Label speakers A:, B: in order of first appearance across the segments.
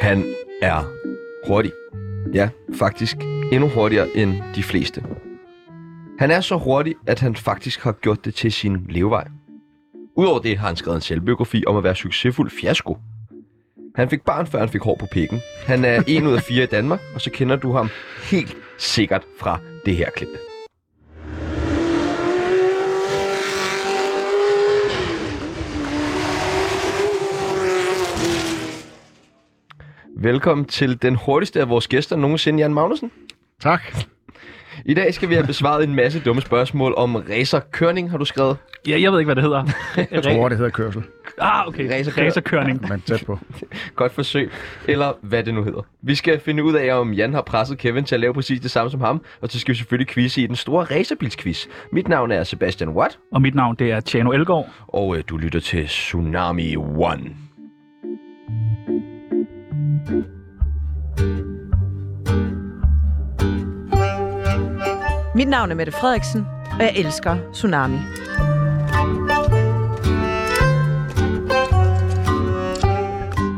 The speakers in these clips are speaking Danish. A: Han er hurtig. Ja, faktisk endnu hurtigere end de fleste. Han er så hurtig, at han faktisk har gjort det til sin levevej. Udover det har han skrevet en selvbiografi om at være succesfuld fiasko. Han fik barn, før han fik hår på pikken. Han er en ud af fire i Danmark, og så kender du ham helt sikkert fra det her klip. Velkommen til den hurtigste af vores gæster nogensinde, Jan Magnussen.
B: Tak.
A: I dag skal vi have besvaret en masse dumme spørgsmål om racerkørning, har du skrevet.
C: Ja, jeg ved ikke, hvad det hedder.
B: Jeg tror, det hedder kørsel,
C: Ah, okay.
A: Racerkør-
C: Racerkørning.
B: men tæt på.
A: Godt forsøg, eller hvad det nu hedder. Vi skal finde ud af, om Jan har presset Kevin til at lave præcis det samme som ham, og så skal vi selvfølgelig quizze i den store racerbilsquiz. Mit navn er Sebastian Watt,
C: Og mit navn, det er Tjano Elgaard.
A: og øh, du lytter til Tsunami One.
D: Mit navn er Mette Frederiksen, og jeg elsker Tsunami.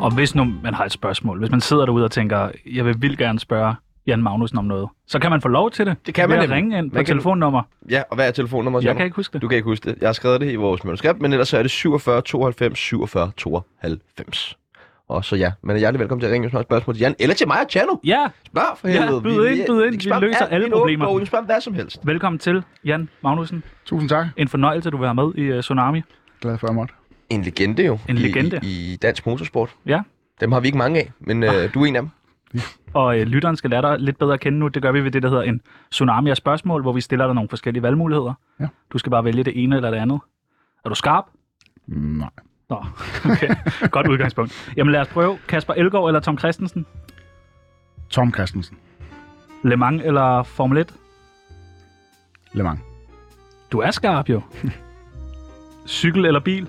C: Og hvis nu man har et spørgsmål, hvis man sidder derude og tænker, jeg vil vildt gerne spørge Jan Magnussen om noget, så kan man få lov til det.
A: Det kan man
C: Ved at
A: nemlig.
C: ringe ind på
A: Man kan-
C: telefonnummer.
A: Ja, og hvad er telefonnummeret?
C: Jeg
A: Jan?
C: kan ikke huske det.
A: Du kan ikke huske det. Jeg har skrevet det i vores manuskript, men ellers så er det 47 92 47 92. Og så ja, man er hjertelig velkommen til at ringe, hvis man har et spørgsmål til Jan, eller til mig og Tjano.
C: Ja,
A: Spørg for
C: Ja,
A: helvede.
C: byd ind, byd ind.
A: kan
C: Vi
A: spørge om
C: løser
A: alt.
C: alle
A: Vi er en åben
C: problemer.
A: bog. Vi kan spørge om hvad som helst.
C: velkommen til, Jan Magnussen.
B: Tusind tak.
C: En fornøjelse, at du vil være med i uh, Tsunami.
B: Glad for, at jeg måtte.
A: En legende jo.
C: En
A: i-
C: legende.
A: I, i dansk motorsport.
C: Ja.
A: Dem har vi ikke mange af, men øh, du er en af dem.
C: Og øh, lytteren skal lære dig lidt bedre at kende nu. Det gør vi ved det, der hedder en tsunami af spørgsmål, hvor vi stiller dig nogle forskellige valgmuligheder.
B: Ja.
C: Du skal bare vælge det ene eller det andet. Er du skarp?
B: Nej.
C: Nå, okay. Godt udgangspunkt. Jamen lad os prøve. Kasper Elgaard eller Tom Christensen?
B: Tom Christensen.
C: Le Mans eller Formel 1?
B: Le Mans.
C: Du er skarp jo. Cykel eller bil?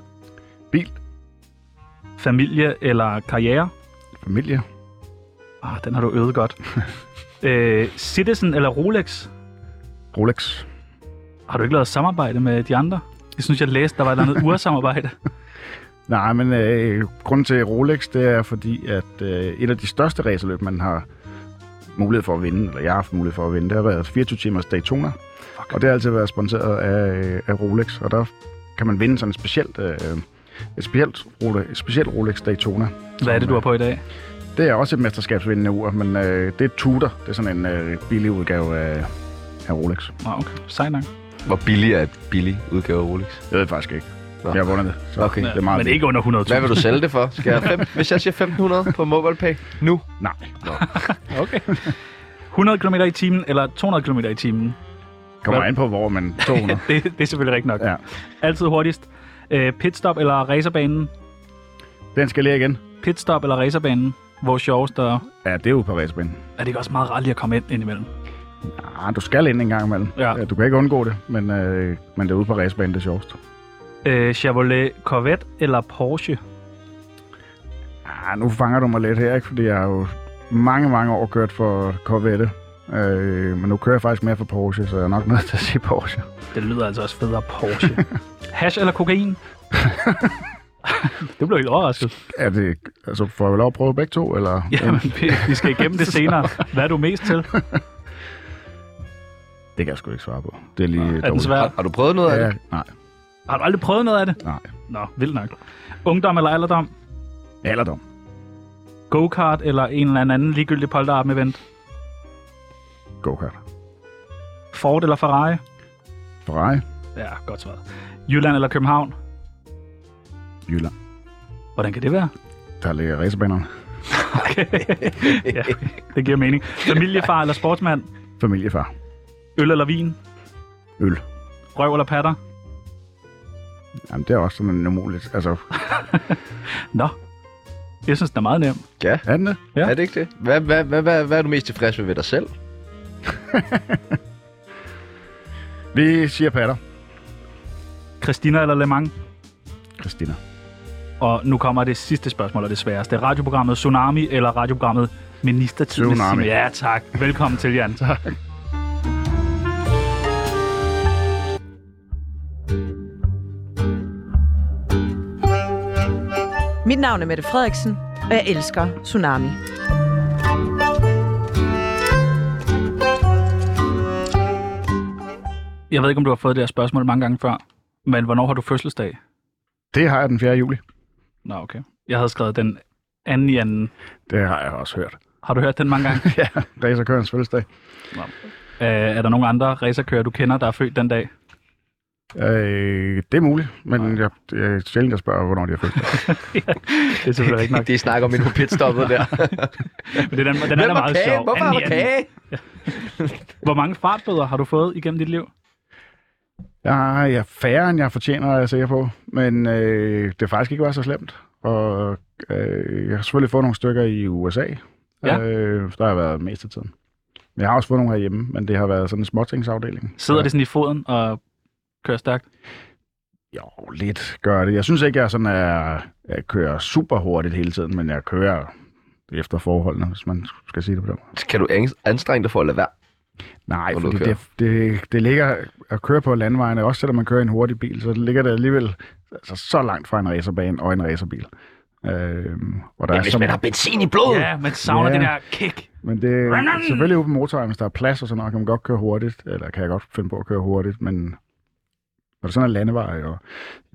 B: Bil.
C: Familie eller karriere?
B: Familie.
C: Ah, den har du øvet godt. øh, Citizen eller Rolex?
B: Rolex.
C: Har du ikke lavet samarbejde med de andre? Jeg synes, jeg læste, der var et eller andet ursamarbejde.
B: Nej, men øh, grunden til Rolex, det er fordi, at øh, et af de største racerløb, man har mulighed for at vinde, eller jeg har haft mulighed for at vinde, det har været 24 timers Daytona. Fuck. Og det har altid været sponsoreret af, øh, af Rolex, og der kan man vinde sådan et specielt, øh, et specielt, Rolex, et specielt Rolex Daytona.
C: Hvad er det, du har på i dag?
B: Det er også et mesterskabsvindende ur, men øh, det er Tudor. Det er sådan en øh, billig udgave af, af Rolex.
C: Nå, okay. Sej nok.
A: Hvor billig er et billig udgave af Rolex?
B: Jeg ved faktisk ikke.
A: Nå.
B: Nå. Jeg har vundet det. Så
A: Okay.
B: Det er meget
C: Men
B: vildt.
C: ikke under 100.000.
A: Hvad vil du sælge det for? Skal jeg fem, hvis jeg siger 1500 på MobilePay nu?
B: Nej.
C: Okay. 100 km i timen eller 200 km i timen?
B: Kommer
C: Hvad?
B: an på, hvor man 200.
C: Det, det er selvfølgelig rigtigt nok.
B: ja.
C: Altid hurtigst. Øh, pitstop eller racerbanen?
B: Den skal jeg lære igen.
C: Pitstop eller racerbanen? Hvor sjovest og...
B: Ja, det er jo på racerbanen.
C: Er det ikke også meget rart lige at komme ind indimellem?
B: Ah, du skal ind en gang imellem.
C: Ja.
B: Du kan ikke undgå det, men, øh, men det er ude på racerbanen, det er sjovest.
C: Øh, Chevrolet Corvette eller Porsche?
B: Ah, nu fanger du mig lidt her, ikke? fordi jeg har jo mange, mange år kørt for Corvette. Øh, men nu kører jeg faktisk mere for Porsche, så jeg er nok nødt til at sige Porsche.
C: Det lyder altså også federe Porsche. Hash eller kokain? du blev helt overrasket.
B: Er det, altså, får jeg lov at prøve begge to? Eller?
C: Jamen, vi, vi skal igennem det senere. Hvad er du mest til?
B: Det kan jeg sgu ikke svare på. Det er lige
C: Er den
B: dårligt.
C: svær?
A: Har, har du prøvet noget af
B: Ja,
A: det?
B: nej,
C: Har du aldrig prøvet noget af det?
B: nej.
C: Nå, vildt nok. Ungdom eller alderdom?
B: Alderdom.
C: Go-kart eller en eller anden ligegyldig polterarm-event?
B: Go-kart.
C: Ford eller Ferrari?
B: Ferrari.
C: Ja, godt svaret. Jylland eller København?
B: Jylland.
C: Hvordan kan det være?
B: Der ligger racerbanerne.
C: Okay. ja, det giver mening. Familiefar eller sportsmand?
B: Familiefar.
C: Øl eller vin?
B: Øl.
C: Røv eller patter?
B: Jamen, det er også sådan en umuligt. Altså,
C: Nå, jeg synes, den er meget nem.
A: Ja.
B: er den det?
C: Ja.
A: Er det ikke det? Hvad, hvad, hvad, hvad, hvad er du mest tilfreds med ved dig selv?
B: Vi siger patter.
C: Christina eller Le Mans?
B: Christina.
C: Og nu kommer det sidste spørgsmål, og det sværeste. Radioprogrammet Tsunami eller radioprogrammet Ministertid? med
B: Tsunami.
C: Signe? Ja, tak. Velkommen til, Jan. Tak.
D: Mit navn er Mette Frederiksen, og jeg elsker Tsunami.
C: Jeg ved ikke, om du har fået det her spørgsmål mange gange før, men hvornår har du fødselsdag?
B: Det har jeg den 4. juli.
C: Nå, okay. Jeg havde skrevet den anden i anden.
B: Det har jeg også hørt.
C: Har du hørt den mange gange?
B: ja, racerkørens fødselsdag.
C: øh, er der nogen andre racerkører, du kender, der er født den dag?
B: Øh, det er muligt, men jeg, jeg er sjældent, der spørger, hvornår de har fødselsdag.
C: Det er selvfølgelig ikke nok.
A: Det snakker om endnu pitstoppet der.
C: Men det, den, den er
A: Hvem
C: da
A: var
C: meget
A: kage?
C: sjov.
A: Hvorfor
C: Anden
A: var
C: i anden.
A: kage?
C: Hvor mange fartbøder har du fået igennem dit liv?
B: Jeg har jeg er færre, end jeg fortjener, er jeg sikker på. Men øh, det har faktisk ikke været så slemt. Og øh, jeg har selvfølgelig fået nogle stykker i USA.
C: Ja.
B: Øh, der har jeg været mest af tiden. Men jeg har også fået nogle herhjemme, men det har været sådan en småtingsafdeling.
C: Sidder
B: Ja.
C: ja. det sådan i foden og kører stærkt?
B: Jo, lidt gør det. Jeg synes ikke, jeg sådan er, jeg kører super hurtigt hele tiden, men jeg kører efter forholdene, hvis man skal sige det på den måde.
A: Kan du angst- anstrenge dig for at lade være?
B: Nej,
A: Hvor du
B: fordi
A: kører.
B: det, det, det ligger at køre på landvejene, også selvom man kører i en hurtig bil, så ligger det alligevel altså, så langt fra en racerbane og en racerbil. Øhm, og der
A: Ja,
B: er
A: hvis
B: så-
A: man har benzin i blodet.
C: Ja, man savner
B: Ja.
C: ja. den her kick.
B: Men det er selvfølgelig ude på motorvejen, hvis der er plads og sådan noget, kan man godt køre hurtigt, eller kan jeg godt finde på at køre hurtigt, men når det sådan er landevej og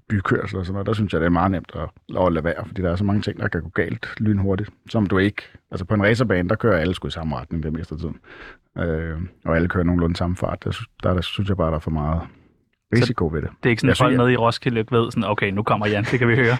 B: bykørsel og sådan noget, der synes jeg, det er meget nemt at, at lade være, fordi der er så mange ting, der kan gå galt lynhurtigt, som du ikke... Altså på en racerbane, der kører alle sgu i samme retning det meste af tiden. Øh, og alle kører nogenlunde samme fart. Der, sy- der, der synes jeg bare, der er for meget risiko ved det.
C: Det er ikke sådan,
B: Jeg
C: at folk
B: synes,
C: nede i Roskilde ikke ved sådan, okay, nu kommer Jan, det kan vi høre.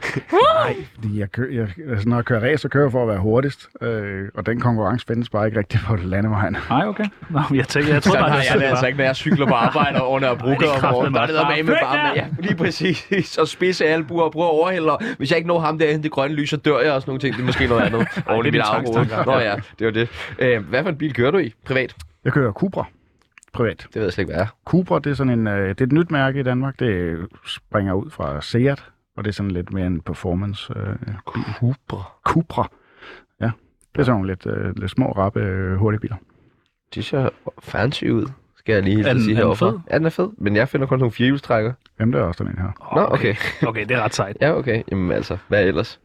B: Fordi jeg kører, jeg, altså når jeg kører race, så kører jeg for at være hurtigst, øh, og den konkurrence findes bare ikke rigtig på landevejen.
C: Nej, okay. Nå, men jeg, tænker, jeg tror bare, det er sådan, det
B: altså
C: var.
A: ikke, når jeg cykler på arbejde og under og
C: det er kraftedeme også bare, "Flyt
A: ja, lige præcis. Og spidse albuer og prøver at overhælde. og Hvis jeg ikke når ham derhen det grønne lys, så dør jeg også nogle ting. Det er måske noget andet. Oven i
C: det
A: mit
C: er min
A: afråd.
C: tvangstanker.
A: Nå ja, det var det. Øh, hvad for en bil kører du i? Privat?
B: Jeg kører Cupra privat.
A: Det ved jeg slet ikke, hvad er.
B: Cupra, det er sådan en, øh, det er et nyt mærke i Danmark. Det øh, springer ud fra Seat, og det er sådan lidt mere en performance. Øh,
A: Cooper.
B: Cupra. Ja, det er sådan nogle lidt, øh, lidt små, rappe, øh, hurtige biler.
A: Det ser fancy ud, skal jeg lige
C: Er
A: hilse
C: den-
A: sige
C: er den
A: heroverfra.
C: fed?
A: Ja, den er fed, men jeg finder kun nogle firehjulstrækker.
B: Jamen, det er også den ene her.
A: Nå, okay.
C: Okay, det er ret sejt.
A: Ja, okay. Jamen altså, hvad ellers?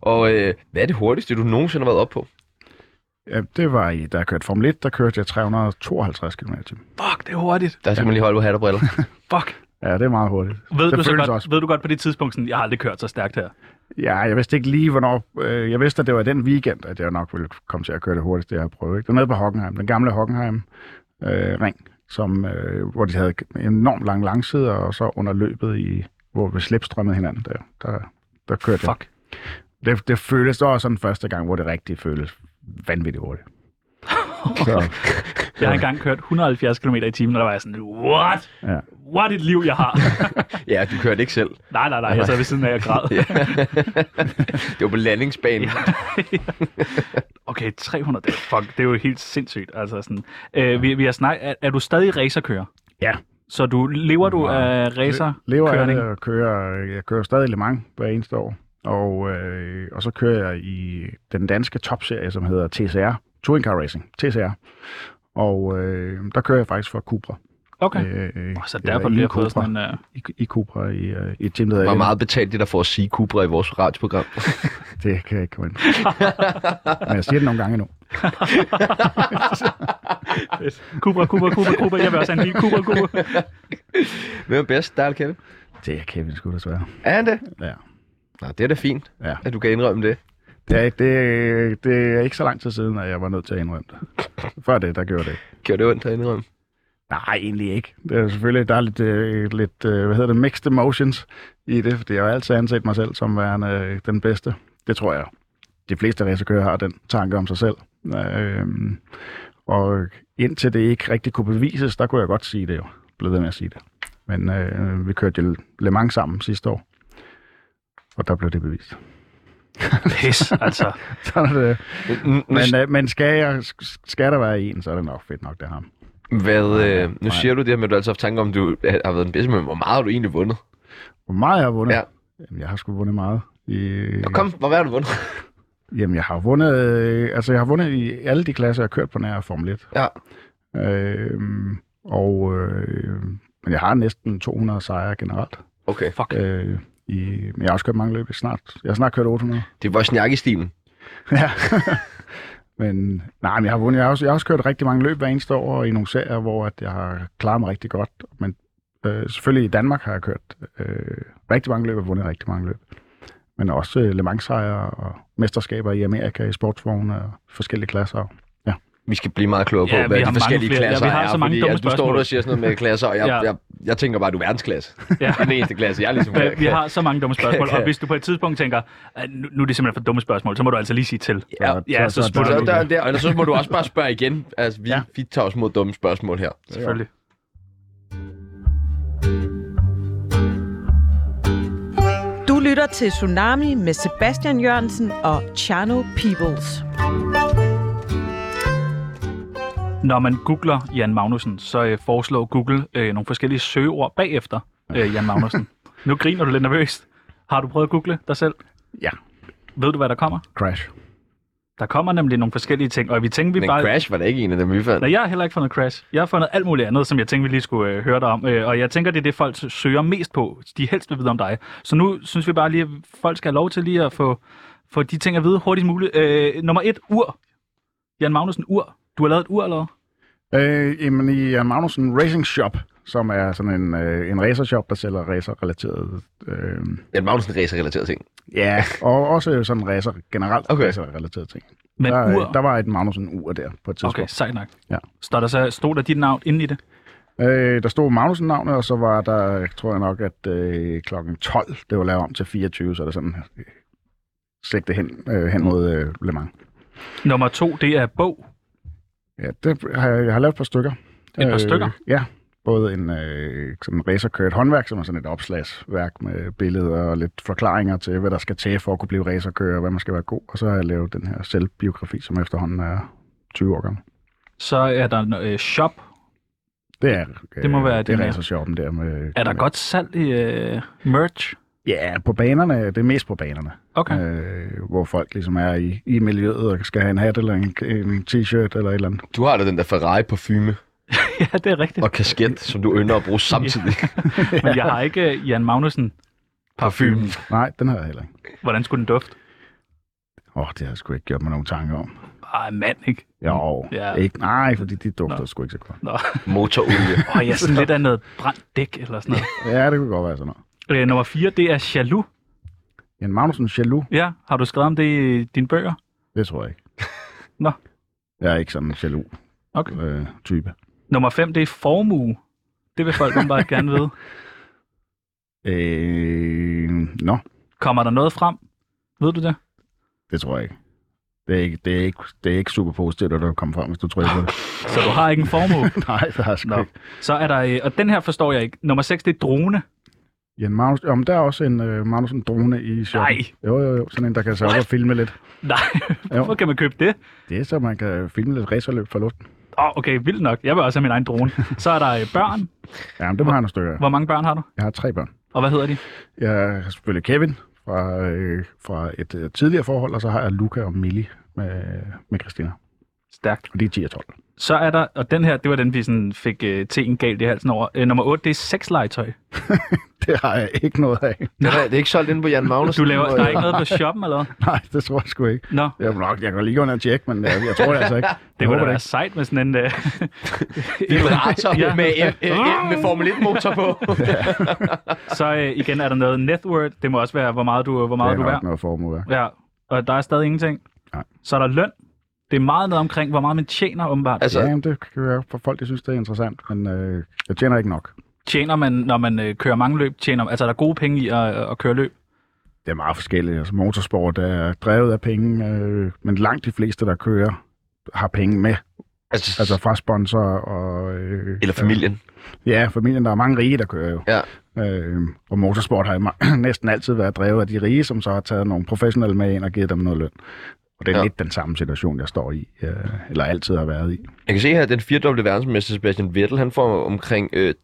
A: Og øh, hvad er det hurtigste, du nogensinde har været op på?
B: Ja, det var i, da jeg kørte Formel 1, der kørte jeg 352 km t
C: Fuck, det er hurtigt.
A: Der skal man lige holde på hat og briller.
C: Fuck.
B: Ja, det er meget hurtigt.
C: Ved
B: Det
C: du, så
B: føles
C: godt,
B: også.
C: ved du godt på det tidspunkt, sådan, jeg har aldrig kørt så stærkt her.
B: Ja, jeg vidste ikke lige, hvornår... Øh, jeg vidste, at det var den weekend, at jeg nok ville komme til at køre det hurtigste, jeg har prøvet. Ikke? Det var nede på Hockenheim, den gamle Hockenheim-ring, som, øh, hvor de havde enormt lang langside, og så under løbet, i, hvor vi slipstrømmede hinanden, der, der, der kørte jeg.
C: Fuck.
B: Det, det føles også sådan første gang, hvor det rigtig føles vanvittigt hurtigt. Så,
C: Jeg har engang kørt 170 km i timen, og der var jeg sådan, what?
B: Ja.
C: What et liv, jeg har.
A: ja, du kørte ikke selv.
C: nej, nej, nej, jeg sad ved siden af, jeg græd.
A: Ja. det var på landingsbanen.
C: Okay, 300, det er, fuck, det er jo helt sindssygt. Altså sådan, øh, vi, vi har snak, er, er, du stadig racerkører?
B: Ja.
C: Så du, lever du
B: Nej.
C: af racer?
B: lever af det,
C: Køring.
B: og kører, jeg kører stadig Le Mans hver eneste år. Og, øh, og så kører jeg i den danske topserie, som hedder TCR, Touring Car Racing, TCR. Og øh, der kører jeg faktisk for Cupra.
C: Okay.
B: Øh,
C: Åh, så
B: eller
C: derfor
B: i
C: bliver jeg
B: Cupra,
C: fået sådan en... Uh,
B: i, i Cupra, i, øh, i et team, der
A: Hvor
B: hedder
A: meget betalt det der for at sige Cooper i vores radioprogram?
B: Element. Det kan jeg ikke komme ind på. Men jeg siger det nogle gange endnu.
C: Cupra, Cupra, Cupra, Cupra, jeg vil også have en bil, Cupra, Cupra.
A: Hvem er bedst, der eller Kevin?
B: Det er Kevin sgu desværre.
A: Er han det?
B: Ja.
A: Nå, det er da fint,
B: Ja.
A: at du kan indrømme det.
B: Det, er, det, det er ikke så lang tid siden, at jeg var nødt til at indrømme det. Før det, der gjorde det ikke.
A: Gjorde det ondt at indrømme?
B: Nej, egentlig ikke. Det er selvfølgelig, der er lidt, øh, lidt øh, hvad hedder det, mixed emotions i det, fordi jeg har altid anset mig selv som værende øh, den bedste. Det tror jeg, de fleste racerkører har den tanke om sig selv. Øh, og indtil det ikke rigtig kunne bevises, der kunne jeg godt sige det jo. Blev ved med at sige det. Men øh, vi kørte jo Le Mans sammen sidste år, og der blev det bevist.
C: Pis, altså.
B: Sådan er det.
A: Nu, nu,
B: Men, øh, men skal, jeg, skal der være en, så er det nok fedt nok, det er ham.
A: hvad, øh, nu
B: nej.
A: siger du det her med, at du altid har haft tanke om, at du har været den bedste, men hvor meget har du egentlig vundet?
B: Hvor meget jeg har vundet?
A: Ja.
B: Jamen, jeg har sgu vundet meget. Øh,
A: Nå, kom, hvor meget har du vundet?
B: Jamen, jeg har vundet, øh, altså jeg har vundet i alle de klasser, jeg har kørt på nær Formel 1.
A: Ja.
B: Øh, og, øh, men jeg har næsten 200 sejre generelt.
A: Okay,
C: Fuck.
B: Øh, i, men jeg har også kørt mange løb. Jeg, snart, jeg har snart kørt 800.
A: det var snak i stilen.
B: Ja. men nej, men jeg har vundet. Jeg har, også, jeg har også kørt rigtig mange løb hver eneste år i nogle serier, hvor at jeg har klaret mig rigtig godt. Men øh, selvfølgelig i Danmark har jeg kørt øh, rigtig mange løb og vundet rigtig mange løb. Men også øh, Le Mans-sejre og mesterskaber i Amerika i sportsvogne og forskellige klasser.
A: Vi skal blive meget klogere på,
C: Ja,
A: ja,
C: vi
A: hvad
C: har
A: de
C: mange
A: forskellige
C: flere- ja, vi
A: klasser
C: har
A: er.
C: så mange
A: fordi,
C: dumme
A: at du står
C: spørgsmål.
A: der og siger sådan noget med klasser, og jeg,
C: Ja.
A: jeg, jeg, jeg tænker bare, du er verdensklasse.
C: Ja.
A: Du er den eneste klasse, jeg ligesom
C: Øh, Vi, vi har så mange dumme spørgsmål,
A: kan-
C: og hvis du på et tidspunkt tænker, at nu, nu er det simpelthen for dumme spørgsmål, så må du altså lige sige til.
A: Ja,
C: ja, så
A: Så
C: smutter
A: er
C: du.
A: døren der, og ellers så må du også bare spørge igen. Altså, vi,
B: Ja.
A: ja. vi tager os mod dumme spørgsmål her.
C: Selvfølgelig.
D: Du lytter til Tsunami med Sebastian Jørgensen og Chano Peoples.
C: Når man googler Jan Magnussen, så øh, foreslår Google øh, nogle forskellige søgeord bagefter øh, Jan Magnussen. nu griner du lidt nervøst. Har du prøvet at google dig selv?
B: Ja,
C: Ved du, hvad der kommer?
B: crash.
C: Der kommer nemlig nogle forskellige ting, og vi tænkte, vi
A: Men
C: bare...
A: Crash var da ikke en af dem, vi fandt.
C: Nej, jeg har heller ikke fundet Crash. Jeg har fundet alt muligt andet, som jeg tænkte, vi lige skulle øh, høre dig om. Øh, og jeg tænker, det er det, folk søger mest på. De helst vil vide om dig. Så nu synes vi bare lige, at folk skal have lov til lige at få, få de ting at vide hurtigst muligt. Øh, nummer et, ur. Jan Magnussen, ur. Du har lavet et ur, eller hvad?
B: Øh, jamen i Jan Magnussen Racing Shop, som er sådan en, øh, en racershop, der sælger racerrelaterede... Øh,
A: Jan Magnussen racer-relateret ting.
B: ja, og også sådan racer, generelt okay.
A: Okay.
B: racerrelaterede ting.
C: Men
B: der, øh,
C: ur.
B: der var et Magnussen-ur der på et tidspunkt.
C: Okay, sejt nok.
B: Ja.
C: Står der så, stod der dit navn inde i det?
B: Øh, der stod Magnussen-navnet, og så var der, tror jeg nok, at øh, klokken 12, det var lavet om til 24, så er der sådan øh, sigte hen, øh, hen mod øh, Le Mans.
C: Nummer to, det er bog.
B: Ja, det har jeg, jeg har lavet et par stykker. Øh,
C: Et par stykker?
B: Ja, både en øh, sådan en racerkørt håndværk, som er sådan et opslagsværk med billeder og lidt forklaringer til, hvad der skal til for at kunne blive racerkører, og hvad man skal være god. Og så har jeg lavet den her selvbiografi, som efterhånden er 20 år gammel.
C: Så er der øh, shop.
B: Det er, øh,
C: Det må være
B: det
C: den
B: er
C: her.
B: racershoppen der med...
C: Er der godt salg i øh, merch?
B: Ja, på banerne. Det er mest på banerne.
C: Okay.
B: øh, hvor folk ligesom er i, i miljøet og skal have en hat eller en, en t-shirt eller et eller andet.
A: Du har da den der Ferrari-parfume
C: ja, det er rigtigt.
A: og kasket, som du ynder at bruge samtidig.
C: Men jeg har ikke øh, Jan Magnussen.
A: Parfumen.
B: Nej, den har jeg heller ikke.
C: Hvordan skulle den dufte?
B: Åh, oh, det har jeg sgu ikke gjort mig nogen tanker om.
C: Ej, mand, ikke?
B: Jo,
C: Ja.
B: ja. ikke, nej, fordi de dufter
C: Nå.
B: sgu ikke så godt.
C: Nå.
A: Motorolie.
C: Og jeg er sådan lidt af noget brændt dæk eller sådan noget.
B: Ja, det kunne godt være sådan noget.
C: Øh, nummer 4, det er jaloux.
B: Jan Magnussen jaloux,
C: Ja, har du skrevet om det i dine bøger?
B: det tror jeg ikke.
C: Nå.
B: Jeg er ikke sådan en jaloux
C: Okay.
B: øh, type.
C: Nummer 5, det er formue. Det vil folk bare gerne vide.
B: Øh, nå,
C: Kommer der noget frem? Ved du det?
B: det tror jeg ikke. Det er ikke, det er ikke, det er ikke super positivt, at du kommer frem, hvis du trykker på det.
C: Så du har ikke en formue?
B: nej, det har jeg sgu
C: Nå.
B: ikke.
C: Så er der, øh, og den her forstår jeg ikke. Nummer 6, det er drone.
B: Jan Magnussen, om der er også en øh, Magnussen drone i shoppen.
C: Nej.
B: Jo, jo, jo, sådan en, der kan sørge for at filme lidt.
C: Nej, hvorfor kan man købe det?
B: Det er så, man kan filme lidt racerløb fra luften.
C: Åh, oh, okay, vildt nok. Jeg vil også have min egen drone. Så er der øh, børn.
B: Ja, men dem har jeg nogle stykker. af.
C: Hvor mange børn har du?
B: Jeg har tre børn.
C: Og hvad hedder de?
B: Jeg har selvfølgelig Kevin fra, øh, fra et øh, tidligere forhold, og så har jeg Luca og Millie med, med Christina.
C: Stærkt.
B: Og de er 10 og 12.
C: Så er der, og den her, det var den, vi sådan fik øh, tingen galt i halsen over. Øh, nummer 8, det er sexlegetøj.
B: Det har jeg ikke noget af.
A: Det er, det er ikke solgt inde på Jan Magnussen.
C: Du laver,
A: hvor-
C: der er ikke noget på shoppen eller hvad?
B: Nej, det tror jeg sgu ikke.
C: Nå,
B: Jeg, nok, jeg kan lige gå ind og tjekke, men jeg, jeg tror det altså ikke.
C: det
B: Jeg
C: kunne da
B: håber
C: være sejt med sådan en... Øh,
A: Det er en racer
C: Ja.
A: med, øh, øh, med Formel 1-motor på.
C: så øh, igen er der noget netword. Det må også være, hvor meget du, øh, hvor
B: Det
C: meget
B: er
C: du er.
B: nok noget formue. værd.
C: Ja, og der er stadig ingenting.
B: Nej.
C: Så er der løn. Det er meget noget omkring, hvor meget man tjener åbenbart.
A: Altså,
B: Ja, jamen, det kan være for folk, de synes, det er interessant, men øh, jeg tjener ikke nok.
C: Tjener man, når man øh, kører mange løb? Tjener, altså er der gode penge i at, at køre løb?
B: Det er meget forskelligt. Altså, motorsport er drevet af penge, øh, men langt de fleste, der kører, har penge med.
A: altså,
B: Altså fra sponsor og... Øh,
A: eller familien.
B: Ja, familien. Der er mange rige, der kører jo.
A: Ja.
B: Øh, og motorsport har jo ma- næsten altid været drevet af de rige, som så har taget nogle professionelle med ind og givet dem noget løn. Og det er
A: Ja.
B: ja. lidt den samme situation, jeg står i, øh, eller altid har været i.
A: Jeg kan se her, at den firedobbelte verdensmester Sebastian Vettel, han får omkring øh,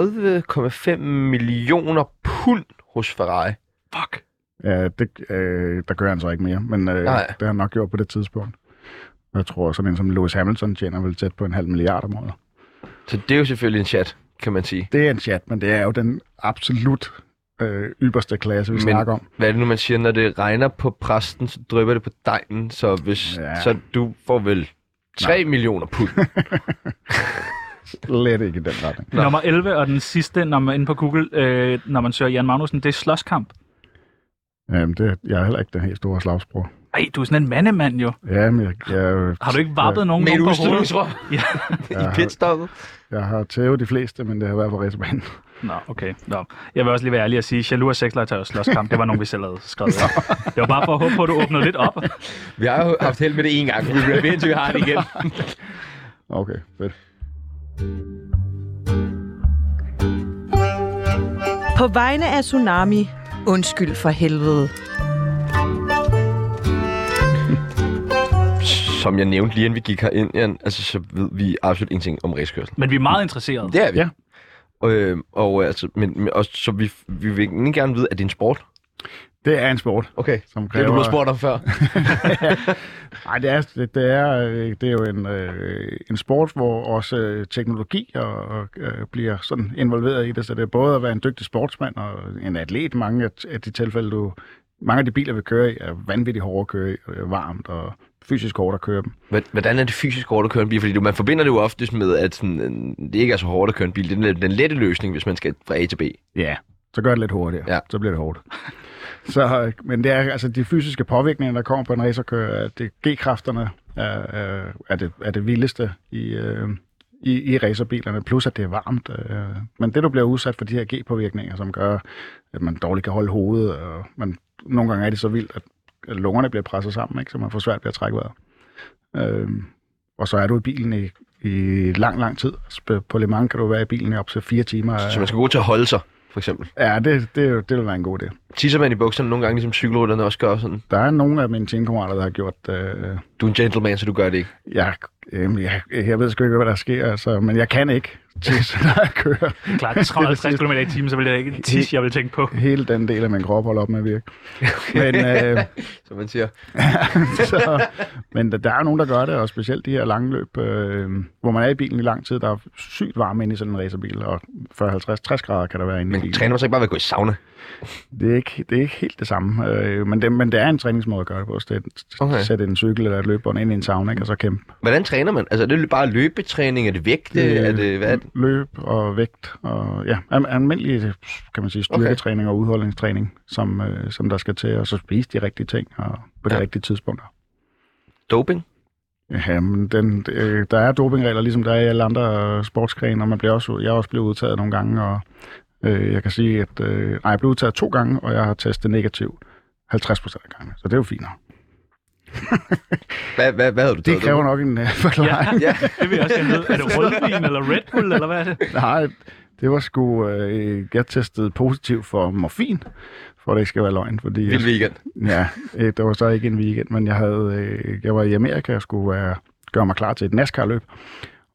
A: 30,5 millioner pund hos Ferrari.
C: Fuck.
B: Ja, det, øh, der kører han så ikke mere, men øh, det
A: Nej.
B: har han nok gjort på det tidspunkt. Og Jeg tror, sådan en som Lewis Hamilton tjener vel tæt på en halv milliard om året.
A: Så det er jo selvfølgelig en chat, kan man sige.
B: Det er en chat, men det er jo den absolut øh, ypperste klasse, vi
A: Men-
B: Men... snakker om.
A: Hvad er det nu, man siger? Når det regner på præsten, så drypper det på dejen. Så, hvis,
B: Ja.
A: ja. så du får vel 3 Nej. millioner pund.
B: Slet ikke i den retning.
C: Nå. Nummer 11 og den sidste, når man er inde på Google, øh, når man søger Jan Magnussen, det er slåskamp.
B: Øhm, det, jeg er heller ikke den helt store slagsbror.
C: Ej, du er sådan en mandemand jo.
B: Ja, men jeg, jeg,
C: Har du ikke vappet nogen
A: Med et
C: nogen på
A: udstødning,
C: hovedet?
A: tror
C: Ja.
A: I pitstoppet.
B: jeg har tævet de fleste, men det har været på racerbanen.
C: Nå, okay. Nå. Jeg vil også lige være ærlig og sige, at Jaloux og Sexlegetøj og slåskamp, det var nogen, vi selv havde skrevet. det var bare for at håbe på, at du åbnede lidt op.
A: Vi har jo haft held med det en gang. Vi bliver ved, indtil vi har det igen.
B: Okay, fedt.
D: På vegne af Tsunami, undskyld for helvede.
A: Som jeg nævnte lige inden vi gik herind, Jan, altså, så ved vi absolut ingenting om racekørsel.
C: Men vi er meget interesserede.
A: Det er vi.
B: Ja.
A: Øh, og altså, men, men også, så vi, vi vil ikke gerne vide, at det er en sport.
B: Det er en sport,
A: Okay.
B: som
A: Det er
B: kræver...
A: du blevet spurgt om før.
B: Nej, det er, det, det er, øh, det er jo en, øh, en sport, hvor også øh, teknologi og, og, øh, bliver sådan involveret i det, så det er både at være en dygtig sportsmand og en atlet. Mange af, af de tilfælde, du, mange af de biler, vi kører i, er vanvittigt hårde at køre i, øh, varmt og fysisk hårdt at køre dem.
A: Hva- Hvordan er det fysisk hårdt at køre en bil? Fordi du- man forbinder det jo oftest med, at sådan, øh, det ikke er så hårdt at køre en bil. Det er den, den lette løsning, hvis man skal fra A til B.
B: Ja, så gør det lidt hurtigere.
A: Ja.
B: Så bliver det hårdt. Så, øh, men det er altså de fysiske påvirkninger, der kommer på en racerkører, det G-kræfterne er, er, er, det, er det vildeste i, øh, i, i racerbilerne, plus at det er varmt. Øh. Men det, du bliver udsat for de her G-påvirkninger, som gør, at man dårligt kan holde hovedet, og man, nogle gange er det så vildt, at at lungerne bliver presset sammen, ikke? så man får svært ved at trække vejret. Øh, og så er du i bilen i, i lang, lang tid. Altså, På- På Le Mans kan du være i bilen i op til fire timer.
A: Så man skal gå til at holde sig, for eksempel.
B: Ja, det, det, er jo- det vil være en god idé.
A: Tisser man i bukserne nogle gange, ligesom cykelrytterne også gør sådan.
B: Der er nogle af mine teamkammerater, der har gjort... Øh,
A: Du er en gentleman, så du gør det ikke.
B: jeg, øh, jeg, jeg ved sgu ikke, hvad der sker, altså, men jeg kan ikke tisse, når jeg kører.
C: Klart, 350 km i timen, så ville jeg ikke tis, jeg ville tænke på.
B: Hele den del af min krop holder op med at virke. Men, øh,
A: Som man siger.
B: så, men der- der er jo nogen, der gør det, og specielt de her lange løb, øh, hvor man er i bilen i lang tid. Der er sygt varme inde i sådan en racerbil, og 40-50-60 grader kan der være inde i
A: Men
B: bilen.
A: træner man så ikke bare ved at gå i sauna?
B: Det er ikke, det er ikke helt det samme, øh, men, det, men det er en træningsmåde at gøre det på. Så det,
A: Okay.
B: okay. Sætte en cykel eller et løbebånd ind i en sauna, ikke, og så kæmpe.
A: Hvordan træner man? Altså, er det bare løbetræning? Er det vægte?
B: Øh,
A: Er det, hvad er det?
B: løb og vægt og ja, al- almindelig kan man sige, styrketræning og udholdningstræning, som, øh, som der skal til, og så spise de rigtige ting og på de
A: Ja.
B: ja. rigtige tidspunkter.
A: Doping?
B: Ja, men den, øh, der er dopingregler, ligesom der er i alle andre øh, sportsgrene, og man bliver også, jeg er også blevet udtaget nogle gange, og øh, jeg kan sige, at øh, nej, jeg blev udtaget to gange, og jeg har testet negativ 50 procent af gangen, så det er jo fint. nok.
A: Hvad, hvad, hvad havde du
B: Det
A: taget
B: kræver nok en øh, forklaring.
A: Ja.
C: Det vil jeg også gerne vide. Er det rødvin eller Red Bull, eller hvad er det?
B: Nej, det var sgu... Øh, jeg testede positiv for morfin, for at det ikke skal være løgn. Fordi,
A: Vild weekend.
B: Ja, øh, det var så ikke en weekend, men jeg, havde, øh, jeg var i Amerika og skulle være, gøre mig klar til et NASCAR-løb.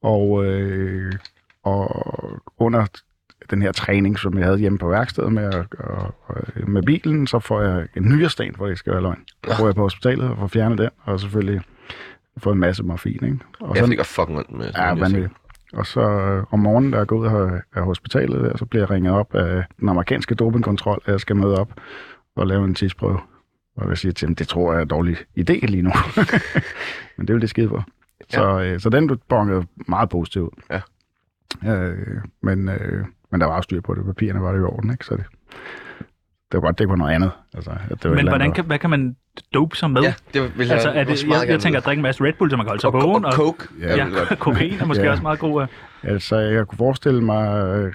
B: Og, øh, og under den her træning, som jeg havde hjemme på værkstedet med, at- og, og, øh, med bilen, så får jeg en nyresten, for det ikke skal være løgn. Så går jeg på hospitalet og får fjernet den, og selvfølgelig får en masse morfin. Ikke? Og
A: Jeg
B: så,
A: fik også fucking ondt med.
B: ja, vanvittigt. Og så øh, om morgenen, der er jeg gået ud af, af hospitalet, der, så bliver jeg ringet op af den amerikanske dopingkontrol, at jeg skal møde op og lave en tidsprøve. Og jeg siger til dem, det tror jeg er en dårlig idé lige nu. Men det vil det skide på. Så, øh, så den du bongede meget positivt ud. Ja. Øh, men, øh, men der var også styr på det. Papirerne var det i orden, ikke? Så det, det var godt, det ikke var noget andet. Altså, at det var et
C: Men
B: eller andet,
C: hvordan kan, hvad kan man dope sig med?
A: Ja, det vil jeg
C: Altså, er det,
A: også meget
C: jeg, jeg
A: gerne
C: tænker
A: vide.
C: at drikke en masse Red Bull, så man kan holde sig
A: og, og,
C: vågen.
A: og coke.
B: Ja.
A: Jeg ved godt.
C: ja, kokain er måske
B: Ja.
C: også meget god. øh.
B: Altså, jeg kunne forestille mig øh,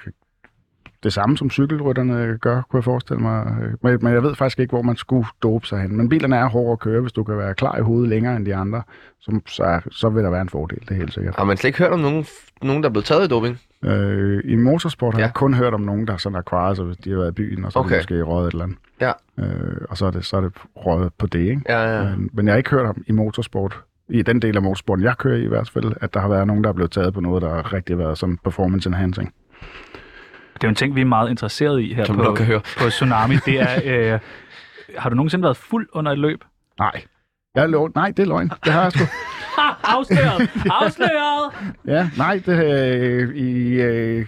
B: det samme, som cykelrytterne gør, kunne jeg forestille mig. Øh, Men men jeg ved faktisk ikke, hvor man skulle dope sig hen. Men bilerne er hårde at køre, hvis du kan være klar i hovedet længere end de andre, så, så, så vil der være en fordel, det er helt sikkert.
A: Har man slet ikke hørt om nogen, nogen der er blevet taget i doping?
B: Øh, I motorsport har
A: Ja.
B: jeg kun hørt om nogen, der sådan har kvaret sig, hvis de har været i byen, og så okay.
A: Okay.
B: er de måske røget et eller andet.
A: Ja.
B: Øh, og så er, det, så er det røget på det, ikke?
A: Ja, ja.
B: Men, men jeg har ikke hørt om i motorsport, i den del af motorsporten, jeg kører i i hvert fald, at der har været nogen, der er blevet taget på noget, der har rigtig været sådan performance enhancing.
C: Det er jo en ting, vi er meget interesseret i her
A: Som
C: på,
A: du nok kan høre.
C: på Tsunami. Det er, øh, har du nogensinde været fuld under et løb?
B: Nej. Jeg lå, nej, det er løgn. Det har jeg sgu.
C: Ha! Afsløret! Afsløret!
B: Ja, nej, det øh, i øh,